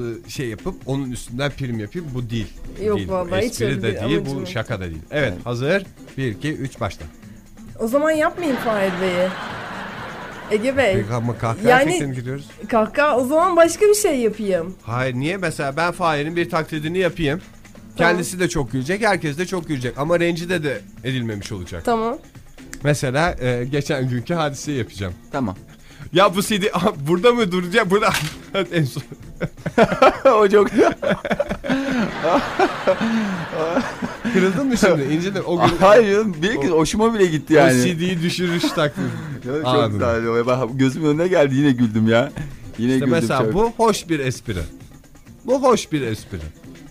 B: Ee, şey yapıp onun üstünden prim yapayım bu değil.
F: Yok
B: değil.
F: vallahi
B: bu
F: hiç
B: espri de
F: öyle bir
B: değil
F: amacım
B: bu
F: yok.
B: şaka da değil. Evet hazır 1 2 3 başla.
F: O zaman yapmayın Fahir Bey'i. Ege Bey.
B: Peki ama kahkaha
F: Ee, Yani-
B: efektine giriyoruz.
F: Kahkaha o zaman başka bir şey yapayım.
B: Hayır niye mesela ben Fahir'in bir taklidini yapayım. Kendisi de çok gülecek, herkes de çok gülecek ama rencide de edilmemiş olacak.
F: Tamam.
B: Mesela e, geçen günkü hadiseyi yapacağım.
E: Tamam.
B: Ya bu CD Aha, burada mı duracak? Burada en son.
E: o çok
B: Kırıldın mı şimdi? İncidin o gün.
E: Hayır canım, bir kez hoşuma bile gitti yani.
B: O CD'yi düşürüş taklidi.
E: Ya, çok
B: Anladım.
E: güzel. Ya, bak, Gözümün önüne geldi yine güldüm ya.
B: İşte
E: Yine
F: Şey
E: güldüm
B: mesela
E: çok.
B: bu hoş bir espri. Bu hoş bir espri.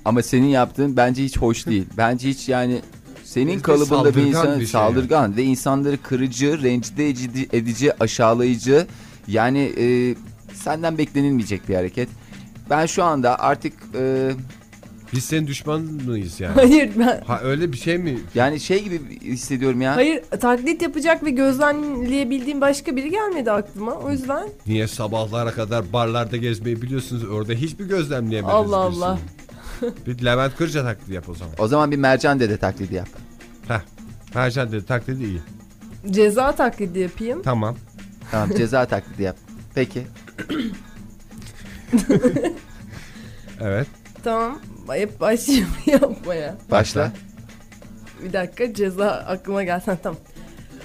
E: Ama senin yaptığın bence hiç hoş değil. Bence hiç yani senin
B: Bir
E: kalıbında bir
B: saldırgan
E: insan
B: bir şey
E: saldırgan ve insanları kırıcı, rencide edici, edici, aşağılayıcı. Yani e, senden beklenilmeyecek bir hareket. Ben şu anda artık e,
B: Biz senin düşman mıyız yani?
F: Hayır ben...
B: ha öyle bir şey mi?
E: yani şey gibi hissediyorum ya.
F: Hayır taklit yapacak ve gözlemleyebildiğim başka biri gelmedi aklıma. O yüzden
B: Niye sabahlara kadar barlarda gezmeyi biliyorsunuz? Orada hiçbir gözlemleyemediniz.
F: Allah
B: birisini.
F: Allah.
B: Bir Levent Kırca taklidi yap o zaman.
E: O zaman bir Mercan Dede taklidi yap.
B: Heh. Mercan dedi taklidi iyi.
F: ceza taklidi yapayım.
B: Tamam.
E: Tamam ceza taklidi yap. Peki.
B: Evet.
F: Tamam. Hep başlayayım yapmaya.
E: Başla.
F: Bir dakika ceza aklıma gelsen tamam.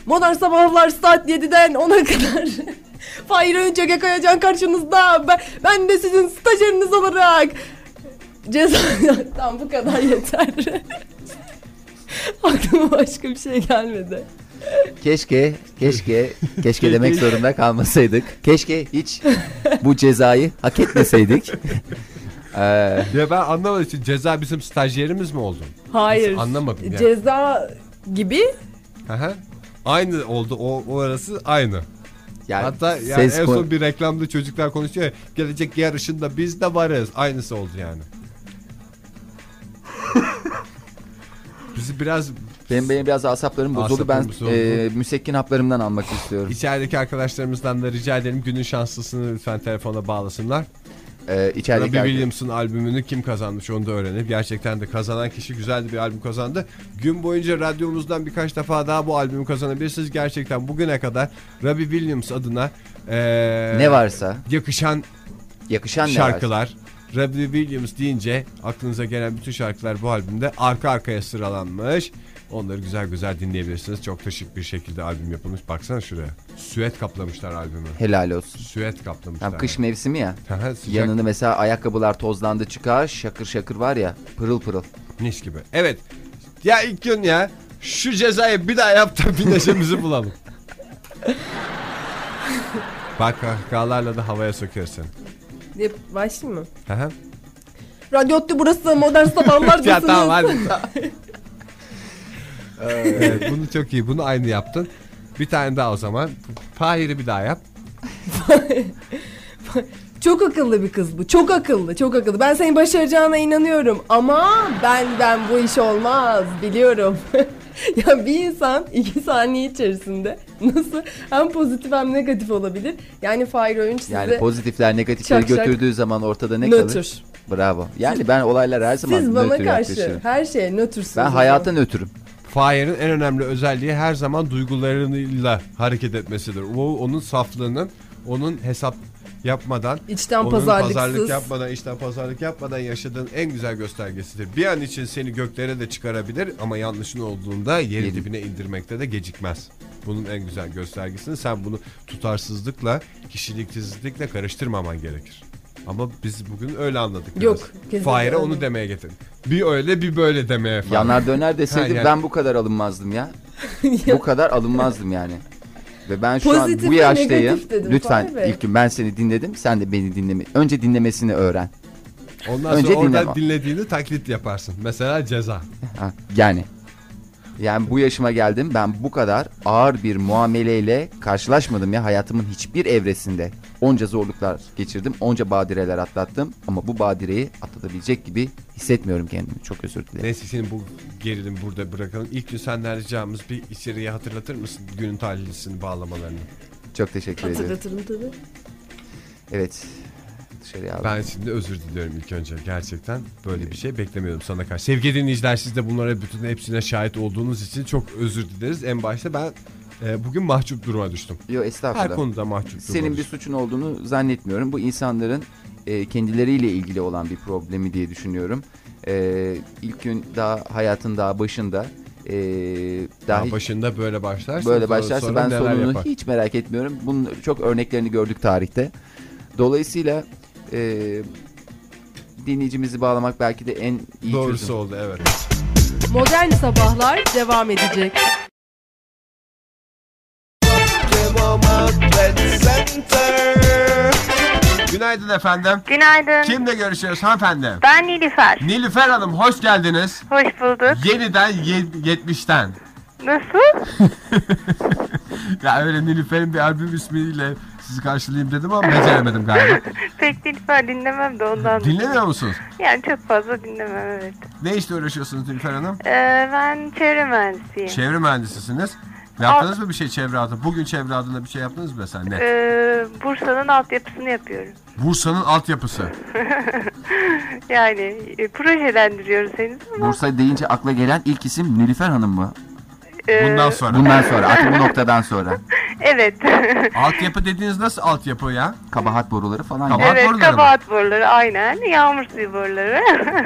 F: Modern Sabahlar saat 7'den 10'a kadar. Fahir Öncege Kayacan karşınızda. Ben, ben de sizin stajyeriniz olarak. Ceza... tamam bu kadar yeter. Aklıma başka bir şey gelmedi.
E: Keşke, keşke, keşke demek zorunda kalmasaydık. Keşke hiç bu cezayı hak etmeseydik. Ee,
B: Ya ben anlamadım. Şimdi Ceza bizim stajyerimiz mi oldu?
F: Hayır.
B: Nasıl anlamadım yani.
F: Ceza gibi
B: Hı hı. aynı oldu. O, o arası aynı.
E: yani
B: Hatta yani
E: ses
B: en
E: kon-
B: son bir reklamda çocuklar konuşuyor ya, gelecek yarışında biz de varız. Aynısı oldu yani. Bizi biraz
E: benim, benim biraz asaplarım bozuldu. Ben
B: Asaplarım bozuldu.
E: e, müsekkin haplarımdan almak istiyorum.
B: içerideki arkadaşlarımızdan da rica edelim günün şanslısını lütfen telefona bağlasınlar.
E: Ee, içerideki
B: Robbie
E: arkadaş-
B: Williams'ın albümünü kim kazanmış onu da öğrenip gerçekten de kazanan kişi güzel de bir albüm kazandı. Gün boyunca radyomuzdan birkaç defa daha bu albümü kazanabilirsiniz. Gerçekten bugüne kadar Robbie Williams adına eee,
E: ne varsa,
B: yakışan
E: yakışan ne varsa.
B: şarkılar, Robbie Williams deyince aklınıza gelen bütün şarkılar bu albümde arka arkaya sıralanmış. Onları güzel güzel dinleyebilirsiniz. Çok da şık bir şekilde albüm yapılmış. Baksana şuraya. Süet kaplamışlar albümü.
E: Helal olsun.
B: Süet kaplamışlar.
E: Hem kış mevsimi ya.
B: Aha, sıcak.
E: Yanını mesela ayakkabılar tozlandı çıkar şakır şakır var ya pırıl pırıl.
B: Mis gibi. Evet. Ya ilk gün ya şu cezayı bir daha yap da bir neşemizi bulalım. Bak kahkahalarla da havaya sokuyorsun.
F: Diye başlayayım mı?
B: Hı hı.
F: Radyo Otlu burası modern sabahlar
B: ya
F: diyorsunuz.
B: tamam hadi. evet, bunu çok iyi. Bunu aynı yaptın. Bir tane daha o zaman. Fahir'i bir daha yap.
F: Çok akıllı bir kız bu. Çok akıllı, çok akıllı. Ben senin başaracağına inanıyorum ama ben ben bu iş olmaz biliyorum. ya bir insan iki saniye içerisinde nasıl hem pozitif hem negatif olabilir? Yani Fahir Öğünç size
E: Yani pozitifler negatifleri
F: Şak şak.
E: götürdüğü zaman ortada ne
F: nötr.
E: kalır? Bravo. Yani ben olaylara her zaman
F: Siz bana
E: nötr
F: karşı
E: yaklaşırım.
F: her şeye nötrsünüz.
E: Ben
F: o
E: hayata nötrüm.
B: Fahir'in en önemli özelliği her zaman duygularıyla hareket etmesidir. O onun saflığının, onun hesap yapmadan,
F: İçten
B: onun
F: pazarlıksız.
B: pazarlık yapmadan, içten pazarlık yapmadan yaşadığın en güzel göstergesidir. Bir an için seni göklere de çıkarabilir ama yanlışın olduğunda yeri
E: Yeri.
B: dibine indirmekte de gecikmez. Bunun en güzel göstergesini sen bunu tutarsızlıkla, kişiliksizlikle karıştırmaman gerekir. Ama biz bugün öyle anladık.
F: Yok,
B: biraz.
F: kesinlikle
B: Fahir'e onu
F: öyle.
B: demeye getir. Bir öyle bir böyle demeye falan.
E: Yanar döner deseydi
B: Ha, yani.
E: ben bu kadar alınmazdım ya. bu kadar alınmazdım yani. Ve ben şu
F: Pozitif
E: an bu
F: ve
E: yaştayım.
F: negatif dedim,
E: Lütfen
F: Fahri Bey.
E: ilk gün ben seni dinledim. Sen de beni dinleme. Önce dinlemesini öğren.
B: Ondan
E: Önce
B: sonra
E: dinleme.
B: oradan dinlediğini taklit yaparsın. Mesela ceza.
E: Ha, yani. Yani bu yaşıma geldim ben bu kadar ağır bir muameleyle karşılaşmadım ya hayatımın hiçbir evresinde. Onca zorluklar geçirdim, onca badireler atlattım ama bu badireyi atlatabilecek gibi hissetmiyorum kendimi. Çok özür dilerim.
B: Neyse senin bu gerilim burada bırakalım. İlk gün senden ricamız bir içeriye hatırlatır mısın? Günün talihlisini bağlamalarını.
E: Çok teşekkür ederim.
F: Hatırlatırım tabii.
E: Evet. Dışarıya aldım.
B: Ben şimdi özür diliyorum ilk önce. Gerçekten böyle bir şey beklemiyordum sana karşı. Sevgili dinleyiciler siz de bunlara bütün hepsine şahit olduğunuz için çok özür dileriz. En başta ben e, bugün mahcup duruma düştüm.
E: Yo
B: Her
E: estağfurullah.
B: konuda mahcup duruma
E: Senin bir
B: düştüm.
E: suçun olduğunu zannetmiyorum. Bu insanların e, kendileriyle ilgili olan bir problemi diye düşünüyorum. E, ilk gün daha hayatın daha başında e, daha
B: Daha
E: hiç-
B: başında böyle başlarsa
E: böyle
B: sonra-
E: başlarsa
B: sonra
E: ben
B: neler
E: sonunu
B: yapar?
E: hiç merak etmiyorum. Bunun çok örneklerini gördük tarihte. Dolayısıyla e, dinleyicimizi bağlamak belki de en iyi
B: Doğrusu
E: çözüm.
B: oldu evet.
C: Modern sabahlar devam edecek.
B: Günaydın efendim.
G: Günaydın.
B: Kimle görüşüyoruz hanımefendi?
G: Ben Nilüfer.
B: Nilüfer Hanım hoş geldiniz.
G: Hoş bulduk.
B: Yeniden ye- 70'ten.
G: Nasıl?
B: ya öyle Nilüfer'in bir albüm ismiyle sizi karşılayayım dedim ama beceremedim galiba.
G: Pek Nilüfer dinlemem de ondan.
B: Dinlemiyor musunuz?
G: Yani çok fazla dinlemem evet.
B: Ne işle uğraşıyorsunuz Nilüfer Hanım?
G: Ee, ben çevre mühendisiyim.
B: Çevre mühendisisiniz. Yaptınız mı bir şey çevre adına? Bugün çevre adına bir şey yaptınız mı mesela? Ne?
G: Ee, Bursa'nın altyapısını yapıyorum.
B: Bursa'nın altyapısı.
G: Yani e, projelendiriyoruz henüz ama
E: Bursa deyince akla gelen ilk isim Nilüfer Hanım mı?
G: e,
B: Bundan sonra.
E: Bundan sonra artık bu noktadan sonra
G: evet.
B: Altyapı dediğiniz nasıl altyapı ya?
E: kabahat boruları falan.
B: Kabahat-
G: evet
B: boruları mı?
G: kabahat boruları aynen. Yağmur suyu boruları.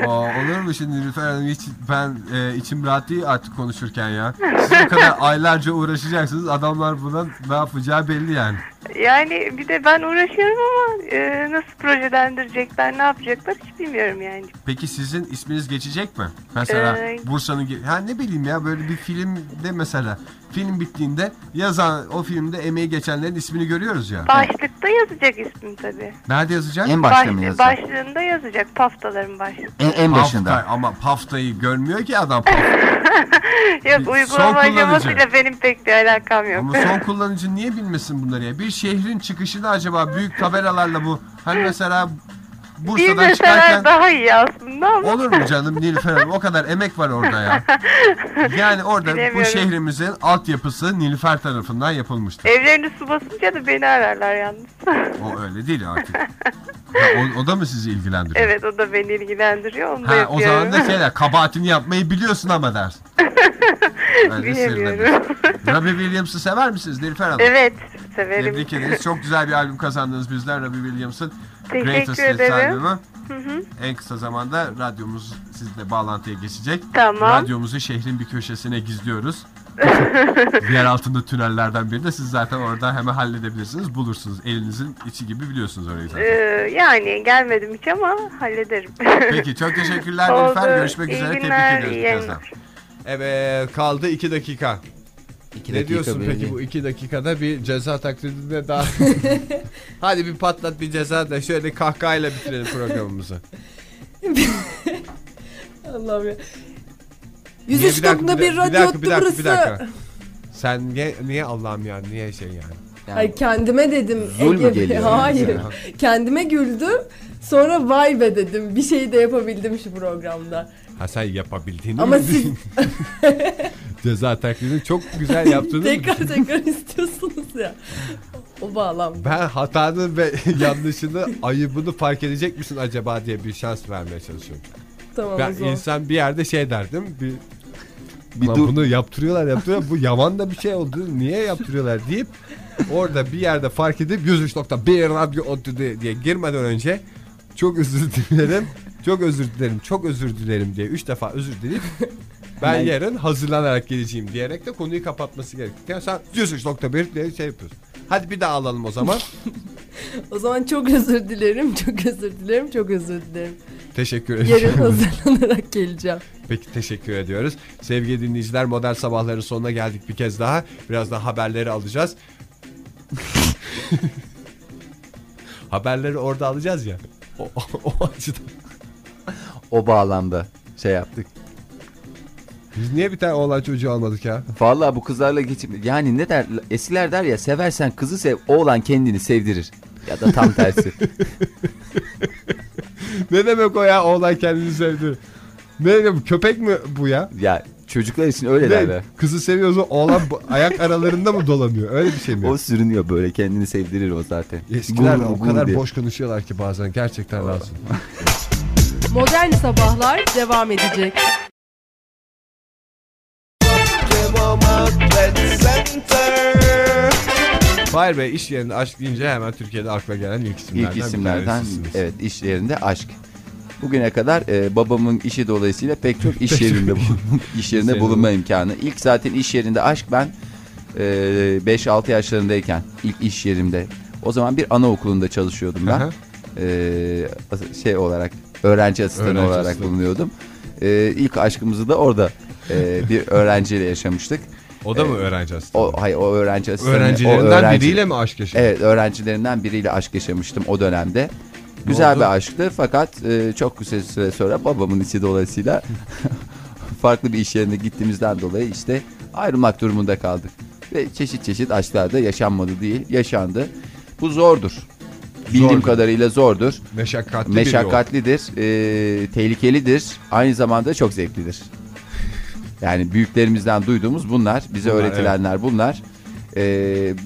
B: Aa, olur mu şimdi Nilüfer Hanım hiç ben e, içim rahat değil artık konuşurken ya. Siz bu kadar aylarca uğraşacaksınız adamlar buna ne yapacağı belli yani.
G: yani bir de ben uğraşıyorum ama e, nasıl projelendirecekler ne yapacaklar hiç bilmiyorum yani.
B: Peki sizin isminiz geçecek mi? Mesela
G: Ee,
B: Bursa'nın ge- ha ne bileyim ya böyle bir filmde mesela film bittiğinde yazan o filmde emeği geçenlerin ismini görüyoruz ya.
G: Başlıkta yazacak ismim tabii.
B: Nerede yazacak?
E: En başta mı
G: Baş-
E: yazıyor?
G: başlığında yazacak paftaların başlığı.
E: En,
B: E,
E: en başında.
B: Paftay ama paftayı görmüyor ki adam. Paft-
G: Yok
B: e, Son
G: uygulama
B: kullanıcı.
G: aşamasıyla benim pek bir alakam yok.
B: ama son kullanıcı niye bilmesin bunları ya? Bir şehrin çıkışını acaba büyük tabelalarla bu hani mesela
G: Bir
B: Bursa'dan
G: mesela
B: çıkarken
G: daha iyi aslında ama
B: Olur mu canım Nilüfer Hanım? O kadar emek var orada ya. Yani orada bu
G: Bilemiyorum.
B: şehrimizin altyapısı Nilüfer tarafından yapılmıştır.
G: evlerini su basınca da beni ararlar yalnız.
B: O öyle değil artık. Ha, o, o da mı sizi ilgilendiriyor?
G: evet o da beni ilgilendiriyor onu da
B: Ha, o
G: yapıyorum.
B: zaman da şey şeyler kabahatini yapmayı biliyorsun ama dersin. Öyle
G: Bilemiyorum.
B: sırlarız. Robbie Williams'ı sever misiniz Nilüfer Hanım?
G: evet severim.
B: Tebrik ederiz. Çok güzel bir albüm kazandınız bizden Robbie Williams'ın.
G: Teşekkür
B: Greatest Hits
G: ederim.
B: albümü. En kısa zamanda radyomuz sizle bağlantıya geçecek.
G: Tamam.
B: Radyomuzu şehrin bir köşesine gizliyoruz. Yer altında tünellerden birinde siz zaten orada hemen halledebilirsiniz. Bulursunuz. Elinizin içi gibi biliyorsunuz orayı
G: Ee,
B: zaten.
G: yani gelmedim hiç ama hallederim.
B: Peki çok teşekkürler
G: Oldu.
B: Nilüfer. Görüşmek
G: İyi
B: üzere.
G: günler,
B: Tebrik
G: iyi
B: ediyoruz
G: yayınlar.
B: birazdan. Evet kaldı 2 dakika.
E: İki
B: ne
E: dakika
B: diyorsun
E: böyle.
B: peki bu iki dakikada bir ceza taklidinde daha... Hadi bir patlat bir ceza da şöyle kahkahayla bitirelim programımızı.
F: Allah'ım ya.
B: Niye? Bir
F: 103
B: dakika,
F: nokta bir
B: bir dakika,
F: radyo attı
B: bir dakika, bir dakika.
F: burası.
B: Sen niye, niye Allah'ım ya niye şey yani?
F: Ay kendime dedim.
E: Zul mü
F: Ege-
E: geliyor?
F: Hayır. Kendime güldüm. Sonra vay be dedim. Bir şey de yapabildim şu programda.
B: Ha sen yapabildiğini
F: Ama
B: mi-
F: siz
B: ceza taklidini çok güzel yaptığını mı
F: tekrar tekrar istiyorsunuz ya. O bağlam.
B: Ben hatanın ve yanlışını, ayıbını fark edecek misin acaba diye bir şans vermeye çalışıyorum.
F: Tamam
B: Ben
F: o zaman.
B: insan bir yerde şey derdim. Bir,
E: Bir
B: "Lan
E: dur.
B: bunu yaptırıyorlar yaptırıyorlar. Bu yaman da bir şey oldu. Niye yaptırıyorlar deyip orada bir yerde fark edip 103.1 radyo ODTÜ" diye- diye girmeden önce çok özür dilerim. Çok özür dilerim. Çok özür dilerim diye 3 defa özür dileyip ben
E: Ben-
B: yarın hazırlanarak geleceğim diyerek de konuyu kapatması gerekiyor. Yani sen 103.1 diye şey yapıyorsun. Hadi bir daha alalım o zaman.
F: O zaman çok özür dilerim. Çok özür dilerim. Çok özür dilerim.
B: Teşekkür
F: Yarın
B: ediyorum.
F: hazırlanarak geleceğim.
B: Peki teşekkür ediyoruz. Sevgili dinleyiciler modern sabahların sonuna geldik bir kez daha. Birazdan haberleri alacağız. haberleri orada alacağız ya. O, o- o açıdan.
E: O bağlamda şey yaptık.
B: Biz niye bir tane oğlan çocuğu almadık ya?
E: Vallahi bu kızlarla geçim yani ne der eskiler der ya seversen kızı sev oğlan kendini sevdirir. Ya da tam tersi.
B: ne demek o ya oğlan kendini sevdi. Ne demek köpek mi bu ya?
E: ya çocuklar için öyle
B: Ne,
E: derler.
B: kızı seviyorsa oğlan bu- ayak aralarında mı dolanıyor? Öyle bir şey mi? ya?
E: O sürünüyor böyle kendini sevdirir o zaten.
B: Eskiler
E: Gurur,
B: o
E: gurur
B: kadar
E: diye.
B: boş konuşuyorlar ki bazen gerçekten lazım.
C: Modern Sabahlar devam edecek.
B: Fahir Bey iş yerinde aşk deyince hemen Türkiye'de akla gelen ilk isimlerden
E: İlk
B: bir
E: isimlerden
B: tanesisiniz.
E: evet iş yerinde aşk. Bugüne kadar e, babamın işi dolayısıyla pek çok iş yerinde bulun- iş yerinde
B: Senin
E: bulunma imkanı. İlk zaten iş yerinde aşk ben e, 5-6 yaşlarındayken ilk iş yerimde. O zaman bir anaokulunda çalışıyordum ben.
B: Aha.
E: E, as- şey olarak öğrenci asistanı
B: Öğrenci
E: olarak
B: asistanı.
E: bulunuyordum. E, ilk aşkımızı da orada e, bir öğrenciyle yaşamıştık.
B: O da mı öğrenci aslında?
E: O hayır o öğrenci asistanı. o
B: Öğrencilerinden
E: öğrenci-
B: biriyle mi aşk yaşadın?
E: Evet öğrencilerinden biriyle aşk yaşamıştım o dönemde. Güzel
B: oldu?
E: bir aşktı fakat e, çok kısa süre sonra babamın içi dolayısıyla farklı bir iş yerine gittiğimizden dolayı işte ayrılmak durumunda kaldık. Ve çeşit çeşit aşklar da yaşanmadı değil yaşandı. Bu zordur. Bildiğim
B: Zordur.
E: kadarıyla zordur.
B: Meşakkatli, biri
E: Meşakkatlidir, e, tehlikelidir, aynı zamanda çok zevklidir. Yani büyüklerimizden duyduğumuz bunlar, bize
B: Bunlar,
E: öğretilenler bunlar. E,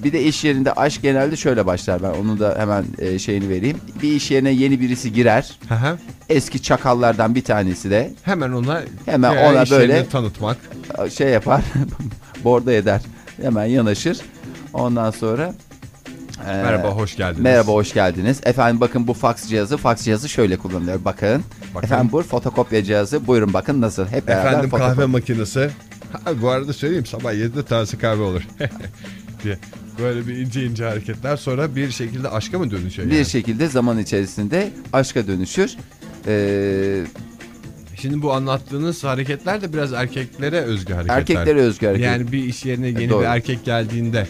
E: bir de iş yerinde aşk genelde şöyle başlar ben onu da hemen e, şeyini vereyim. Bir iş yerine yeni birisi girer,
B: o. Hı hı.
E: eski çakallardan bir tanesi de
B: Hemen ona
E: Hemen
B: veya
E: ona
B: işlerini
E: böyle-
B: tanıtmak.
E: şey yapar, bordo eder, hemen yanaşır. Ondan sonra... e,
B: Merhaba hoş geldiniz.
E: Merhaba hoş geldiniz. Efendim bakın bu fax cihazı. Fax cihazı şöyle kullanılıyor bakın.
B: Bakın.
E: Efendim bu fotokopya cihazı. Buyurun bakın nasıl. Hep beraber
B: Efendim
E: fotokopya.
B: kahve makinesi. Ha, bu arada söyleyeyim sabah 7'de taze kahve olur. diye. Böyle bir ince ince hareketler sonra bir şekilde aşka mı dönüşüyor?
E: Bir şey-
B: yani?
E: şekilde zaman içerisinde aşka dönüşür. Ee,
B: Şimdi bu anlattığınız hareketler de biraz erkeklere özgü hareketler.
E: erkeklere özgü hareket.
B: Yani bir iş yerine yeni
E: E, doğru.
B: bir erkek geldiğinde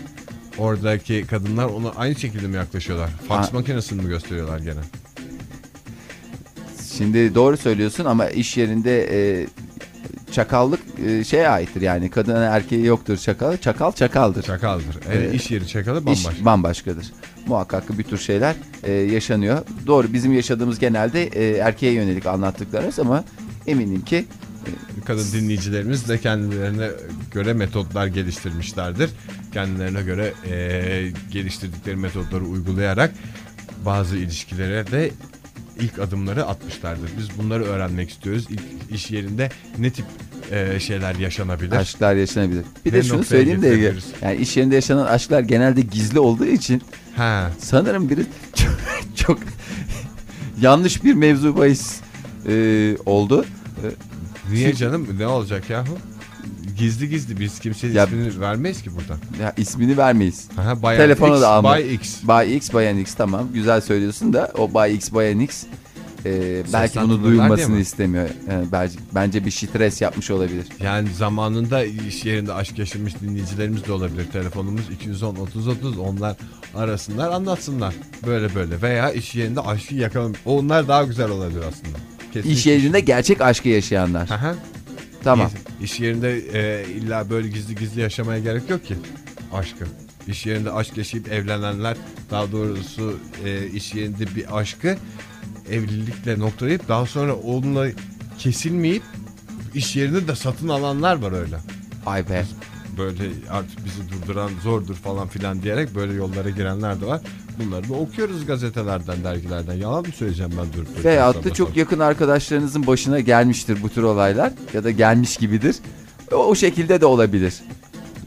B: oradaki kadınlar ona aynı şekilde mi yaklaşıyorlar? Fax
E: Ha.
B: makinesini mi gösteriyorlar gene?
E: Şimdi doğru söylüyorsun ama iş yerinde e, çakallık e, şeye aittir yani. Kadın erkeği yoktur çakal. Çakal çakaldır.
B: Çakaldır. Yani
E: Ee,
B: iş yeri çakalı
E: İş
B: bambaşka.
E: bambaşkadır. Muhakkak ki bir tür şeyler e, yaşanıyor. Doğru bizim yaşadığımız genelde e, erkeğe yönelik anlattıklarımız ama eminim ki
B: Kadın dinleyicilerimiz de kendilerine göre metotlar geliştirmişlerdir. Kendilerine göre eee, geliştirdikleri metotları uygulayarak bazı ilişkilere de ilk adımları atmışlardır. Biz bunları öğrenmek istiyoruz. İlk iş yerinde ne tip eee, şeyler yaşanabilir?
E: aşklar yaşanabilir. Bir
B: Ne
E: de şunu
B: noktaya
E: söyleyeyim de Ege.
B: getirebiliriz?
E: Yani iş yerinde yaşanan aşklar genelde gizli olduğu için
B: Ha.
E: sanırım biri çok, çok yanlış bir mevzu bahis e, oldu.
B: Niye canım ne olacak yahu? Gizli gizli biz kimsenin
E: Ya-
B: ismini vermeyiz ki buradan.
E: Ya ismini vermeyiz.
B: Aha, Bayan
E: Telefonu
B: X,
E: da alma.
B: Bay X.
E: Bay X, Bayan X tamam. Güzel söylüyorsun da o Bay X, Bayan X e, belki bunu
B: Seslendirmeler diye
E: duyulmasını
B: mi?
E: istemiyor. E, belki, bence bir stres yapmış olabilir.
B: Yani zamanında iş yerinde aşk yaşamış dinleyicilerimiz de olabilir. Telefonumuz 210 30 30 onlar arasınlar anlatsınlar. Böyle böyle veya iş yerinde aşkı yakalamış. Onlar daha güzel olabilir aslında. Kesin
E: İş yerinde gerçek aşkı yaşayanlar.
B: Aha,
E: Tamam.
B: İyi. İş yerinde e, illa böyle gizli gizli yaşamaya gerek yok ki aşkı. İş yerinde aşk yaşayıp evlenenler daha doğrusu e, iş yerinde bir aşkı evlilikle noktalayıp daha sonra onunla kesilmeyip iş yerinde de satın alanlar var öyle.
E: Ay be.
B: Böyle artık bizi durduran zordur falan filan diyerek böyle yollara girenler de var. Bunları da okuyoruz gazetelerden, dergilerden. Yalan mı söyleyeceğim ben durup dururken
E: Veyahut
B: sabah
E: da çok yakın arkadaşlarınızın başına gelmiştir bu tür olaylar ya da gelmiş gibidir. E, O, o şekilde de olabilir.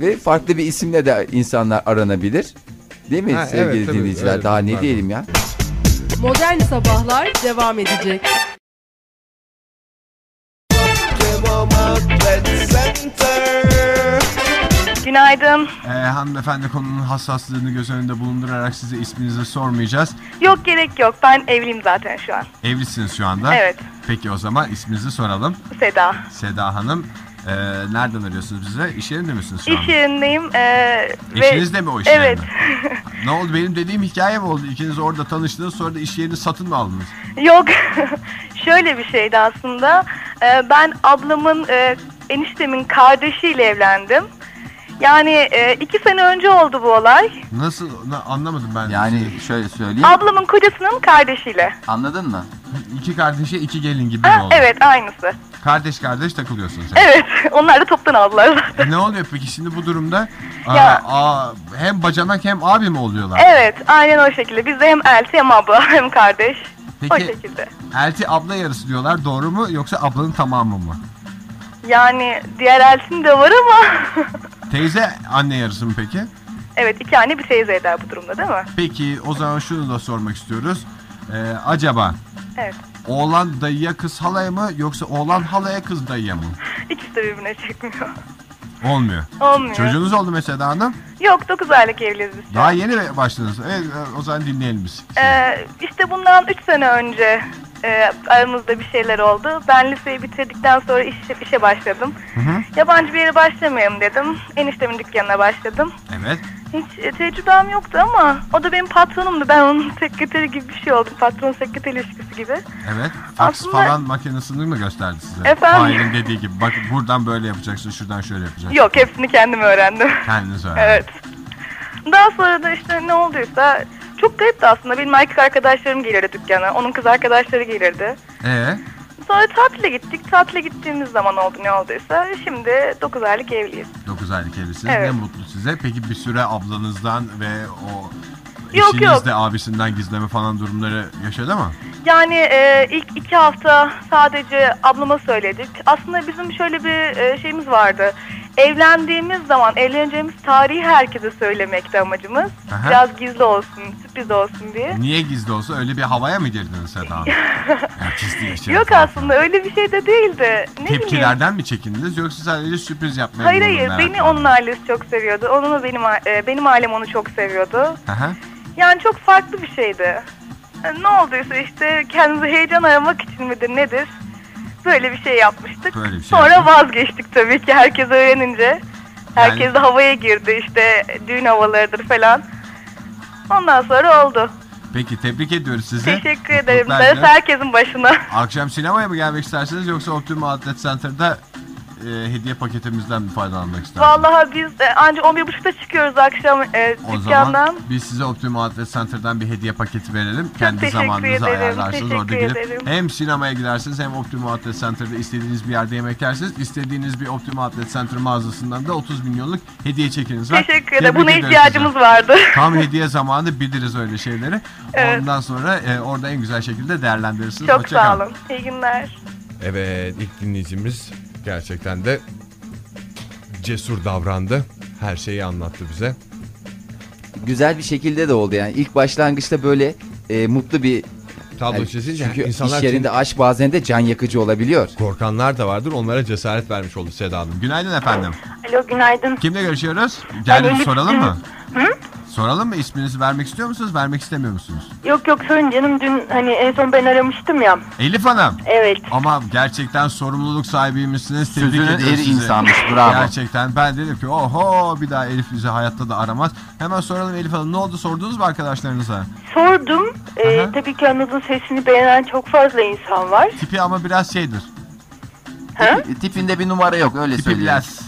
E: Ve farklı bir isimle de insanlar aranabilir. Değil mi
B: Ha, evet,
E: sevgili
B: tabii,
E: dinleyiciler?
B: evet,
E: Daha ne
B: pardon.
E: diyelim ya?
C: Modern Sabahlar devam edecek.
G: Günaydın.
B: Ee, hanımefendi konunun hassaslığını göz önünde bulundurarak size isminizi sormayacağız.
G: Yok gerek yok. Ben evliyim zaten şu an.
B: Evlisiniz şu anda.
G: Evet.
B: Peki o zaman isminizi soralım.
G: Seda.
B: Seda Hanım, ee, nereden arıyorsunuz bize? İş yerinde misiniz şu
G: İş
B: anda?
G: yerindeyim. ee, ve-
B: İşiniz de mi o iş
G: Evet.
B: Ne oldu benim dediğim hikaye mi oldu? İkiniz orada tanıştınız sonra da iş yerini satın mı aldınız?
G: Yok. Şöyle bir şeydi aslında. Ee, ben ablamın e, eniştemin kardeşiyle evlendim. Yani e, iki sene önce oldu bu olay.
B: Nasıl? Na- anlamadım ben.
E: Yani şöyle söyleyeyim.
G: Ablamın kocasının kardeşiyle.
E: Anladın mı?
B: İki kardeşe iki gelin gibi mi
G: Ha,
B: oldu?
G: evet aynısı.
B: Kardeş kardeş takılıyorsunuz. yani.
G: Evet onlar da toptan aldılar.
B: E, ne oluyor peki şimdi bu durumda?
G: Ya-
B: Aa, aa, hem bacanak hem abi mi oluyorlar?
G: evet aynen o şekilde. Biz de hem elti hem abla hem kardeş. O
B: Peki-
G: şekilde.
B: Elti abla yarısı diyorlar doğru mu yoksa ablanın tamamı mı?
G: Yani diğer eltim de var ama.
B: Teyze anne yarısı mı peki?
G: evet iki anne bir teyze eder bu durumda değil mi?
B: Peki o zaman şunu da sormak istiyoruz. Ee, acaba
G: Evet.
B: oğlan dayıya kız halaya mı yoksa oğlan halaya kız dayıya mı?
G: İkisi de birbirine çekmiyor.
B: Olmuyor.
G: Olmuyor.
B: Çocuğunuz oldu mesela hanım.
G: Yok 9 aylık evliyiz biz.
B: Daha yeni başladınız. Evet, e, o zaman dinleyelim biz.
G: Ee, işte bundan 3 sene önce e, aramızda bir şeyler oldu. Ben liseyi bitirdikten sonra iş, işe başladım. Yabancı bir yere başlamayayım dedim. Eniştemin dükkanına başladım.
B: Evet.
G: Hiç e, tecrübem yoktu ama o da benim patronumdu. Ben onun sekreteri gibi bir şey oldum. Patron sekreter ilişkisi gibi.
B: Evet. Fax
G: Aslında-
B: falan makinesini mi gösterdi size?
G: Efendim?
B: Failin dediği gibi. Bak buradan böyle yapacaksın, şuradan şöyle yapacaksın.
G: Yok hepsini kendim öğrendim.
B: Kendiniz öğrenin.
G: Evet. Daha sonra da işte ne olduysa çok garipti aslında. Benim erkek arkadaşlarım gelirdi dükkana. Onun kız arkadaşları gelirdi.
B: Ee,
G: Sonra tatile gittik. Tatile gittiğimiz zaman oldu ne olduysa. Şimdi 9 aylık evliyiz.
B: 9 aylık evlisiniz.
G: Evet.
B: Ne mutlu size. Peki bir süre ablanızdan ve o
G: Yok,
B: eşinizde
G: yok.
B: abisinden gizleme falan durumları yaşadı mı?
G: Yani e, ilk iki hafta sadece ablama söyledik. Aslında bizim şöyle bir e, şeyimiz vardı. Evlendiğimiz zaman evleneceğimiz tarihi herkese söylemekti amacımız.
B: Aha.
G: Biraz gizli olsun, sürpriz olsun diye.
B: Niye gizli olsa öyle bir havaya mı girdiniz Seda Hanım? Ya gizli yaşayalım
G: Yok
B: falan.
G: aslında öyle bir şey de değildi. Ne bileyim.
B: Şey Tepkilerden mi çekindiniz yoksa sadece sürpriz yapmaya
G: Hayır
B: mı
G: hayır
B: merak
G: beni
B: ettiniz?
G: onun ailesi çok seviyordu. Onun da benim a- e, benim ailem onu çok seviyordu.
B: Aha.
G: Yani çok farklı bir şeydi. E, Ne olduysa işte kendimize heyecan aramak için midir nedir? Böyle bir şey yapmıştık.
B: Böyle bir şey
G: Sonra
B: yaptınız.
G: vazgeçtik tabii ki herkes öğrenince. Herkes de havaya girdi işte düğün havalarıdır falan. Ondan sonra oldu.
B: Peki tebrik ediyoruz sizi.
G: Teşekkür ederim.
B: Mutluluklar
G: Darısı
B: diliyorum.
G: herkesin başına.
B: Akşam sinemaya mı gelmek istersiniz yoksa Optimum Outlet Center'da e, hediye paketimizden mi faydalanmak istersiniz?
G: Vallahi biz e, anca 11.30'da çıkıyoruz akşam e,
B: O
G: dükkandan.
B: zaman biz size Optimum Outlet Center'dan bir hediye paketi verelim. Kendi
G: teşekkür
B: zamanınızı
G: ederim,
B: ayarlarsınız. Orada
G: teşekkür
B: gidip
G: ederim.
B: hem sinemaya gidersiniz hem Optimum Outlet Center'da istediğiniz bir yerde yemek yersiniz. İstediğiniz bir Optimum Outlet Center mağazasından da 30 milyonluk hediye çekiniz var.
G: Teşekkür
B: Tebrik
G: ederim. Buna
B: ediyoruz
G: ihtiyacımız
B: size.
G: vardı.
B: Tam hediye zamanı biliriz öyle şeyleri.
G: Evet.
B: Ondan sonra e, orada en güzel şekilde değerlendirirsiniz.
G: Çok
B: Hoşça
G: sağ
B: kalın.
G: olun. İyi günler.
B: Evet ilk dinleyicimiz gerçekten de cesur davrandı. Her şeyi anlattı bize.
E: Güzel bir şekilde de oldu yani. İlk başlangıçta böyle e, mutlu bir
B: Tablo
E: Yani
B: çizince
E: çünkü
B: insanlar
E: iş yerinde aşk bazen de can yakıcı olabiliyor.
B: korkanlar da vardır. Onlara cesaret vermiş oldu Seda Hanım. Günaydın efendim.
H: Alo günaydın.
B: Kimle görüşüyoruz?
H: Ben
B: Geldim
H: Elif
B: soralım mı?
H: Hı?
B: Soralım mı isminizi vermek istiyor musunuz? Vermek istemiyor musunuz?
H: Yok yok sorun canım dün hani en son ben aramıştım ya.
B: Elif Hanım.
H: Evet.
B: Ama gerçekten sorumluluk sahibiymişsiniz. Tebrik
E: Sözünün
B: ediyorum
E: eri
B: sizi.
E: insanmış, bravo.
B: Gerçekten ben dedim ki oho bir daha Elif bizi hayatta da aramaz. Hemen soralım Elif Hanım ne oldu sordunuz mu arkadaşlarınıza?
H: Sordum. Ee,
B: Aha.
H: tabii ki Anıl'ın sesini beğenen çok fazla insan var.
B: Tipi ama biraz şeydir.
H: Ha?
E: E, Tipinde bir numara yok öyle
B: Tipi
E: söyleyeyim.
B: biraz.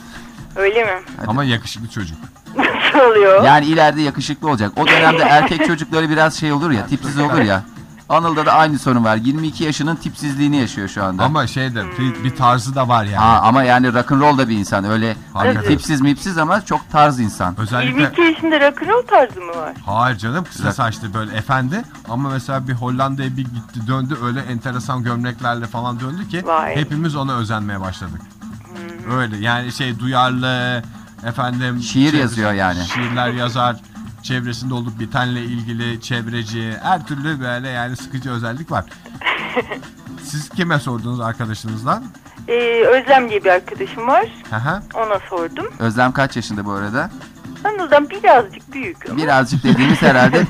H: Öyle mi?
B: Ama yakışıklı çocuk.
H: Nasıl oluyor?
E: Yani ileride yakışıklı olacak. O dönemde erkek çocukları biraz şey olur ya, tipsiz olur ya. Anıl'da da aynı sorun var. 22 yaşının tipsizliğini yaşıyor şu anda.
B: Ama şeydir bir- bir tarzı da var yani.
E: Aa, ama yani rock'n'roll da bir insan. Öyle hani
B: Hakikaten.
E: tipsiz mipsiz ama çok tarz insan.
B: Özellikle
H: 22 yaşında rock'n'roll tarzı mı var?
B: hayır canım kısa
E: Güzel.
B: saçlı böyle efendi ama mesela bir Hollanda'ya bir gitti döndü öyle enteresan gömleklerle falan döndü ki
H: Vay.
B: hepimiz ona özenmeye başladık. Öyle yani şey duyarlı efendim
E: Şiir
B: çevresi-
E: yazıyor yani.
B: Şiirler yazar çevresinde olup bitenle ilgili çevreci her türlü böyle yani sıkıcı özellik var. Siz kime sordunuz arkadaşınızdan?
H: Ee, Özlem diye bir arkadaşım var.
B: Hı hı.
H: Ona sordum.
E: Özlem kaç yaşında bu arada?
H: Anıl'dan birazcık büyük ama.
E: Birazcık dediğimiz herhalde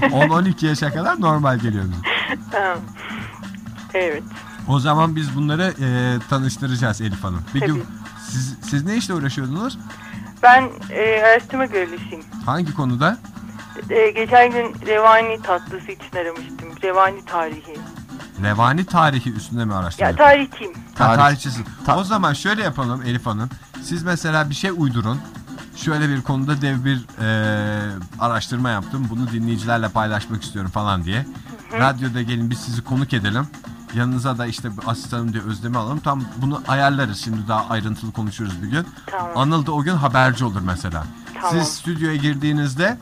B: 10-12 yaşa kadar normal geliyor bize.
H: Ha. Evet.
B: O zaman biz bunları e, tanıştıracağız Elif Hanım. Peki
H: Tabii.
B: siz, siz ne işle uğraşıyordunuz?
H: Ben e, araştırma görevlisiyim.
B: Hangi konuda?
H: E, geçen gün revani tatlısı için aramıştım. Revani tarihi.
B: Revani tarihi üstünde mi araştırma?
H: Ya tarihçiyim.
B: Ha,
E: Tarih-
B: tarihçisin.
E: ta-
B: o zaman şöyle yapalım Elif Hanım. Siz mesela bir şey uydurun. Şöyle bir konuda dev bir e, araştırma yaptım. Bunu dinleyicilerle paylaşmak istiyorum falan diye. Radyoda gelin biz sizi konuk edelim. Yanınıza da işte bir asistanım diye Özlem'i alalım. Tam bunu ayarlarız. Şimdi daha ayrıntılı konuşuruz bir gün.
H: Tamam.
B: Anıl da o gün haberci olur mesela.
H: Tamam.
B: Siz stüdyoya girdiğinizde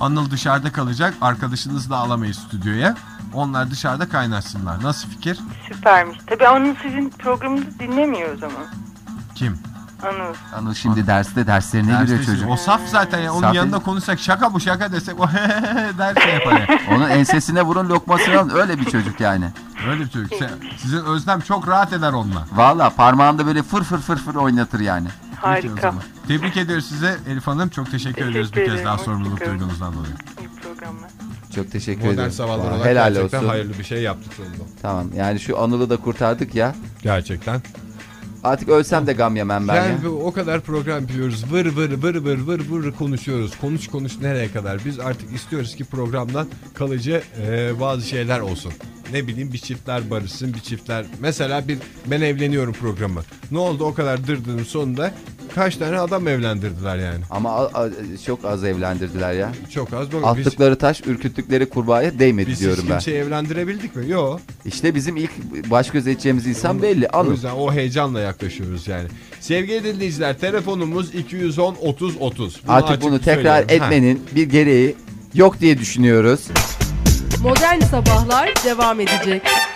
B: Anıl dışarıda kalacak. Arkadaşınızı da alamayız stüdyoya. Onlar dışarıda kaynaşsınlar. Nasıl fikir?
H: Süpermiş. Tabii Anıl sizin programınızı dinlemiyor o zaman.
B: Kim?
H: Anıl.
E: Anıl şimdi derste derslerine
B: Derste
E: giriyor
B: işte.
E: çocuk.
B: O saf zaten ya. Onun
E: Saf
B: yanında
E: değil.
B: konuşsak şaka bu şaka desek o der şey yapar. ya.
E: Onun ensesine vurun lokmasını alın. Öyle bir çocuk yani.
B: Öyle bir çocuk. Se- Sizin Özlem çok rahat eder onunla.
E: Valla parmağında böyle fır fır fır fır oynatır yani.
H: Harika.
B: Tebrik ediyoruz size Elif Hanım. Çok teşekkür,
H: Teşekkür
B: ediyoruz bir kez
H: ederim.
B: daha
H: Hoşça
B: sorumluluk
H: kalın.
B: duyduğunuzdan dolayı.
H: İyi programlar.
E: Çok teşekkür
B: Modern
E: ederim.
B: sabahlar
E: Valla
B: olarak
E: Helal
B: gerçekten
E: olsun.
B: hayırlı bir şey yaptık sonunda.
E: Tamam yani şu Anıl'ı da kurtardık ya.
B: Gerçekten.
E: Artık ölsem de gam yemem ben ya.
B: Yani bu- o kadar program yapıyoruz. Vır vır vır vır vır vır konuşuyoruz. Konuş konuş nereye kadar? Biz artık istiyoruz ki programdan kalıcı e, bazı şeyler olsun. Ne bileyim bir çiftler barışsın, bir çiftler... Mesela bir ben evleniyorum programı. Ne oldu o kadar dırdının sonunda kaç tane adam evlendirdiler yani.
E: Ama a- a- çok az evlendirdiler ya.
B: Çok az. Bak, Biz,
E: Attıkları taş, ürküttükleri kurbağaya değmedi
B: biz hiç
E: diyorum ben.
B: kimseyi evlendirebildik mi? Yok.
E: İşte bizim ilk baş göz edeceğimiz insan belli.
B: O
E: Anıl.
B: yüzden o heyecanla yaklaşıyoruz yani. Sevgili dinleyiciler telefonumuz 210 30 30. Bunu
E: Artık
B: açık
E: bunu tekrar
B: söylüyorum. Ha.
E: etmenin bir gereği yok diye düşünüyoruz.
C: Modern Sabahlar devam edecek.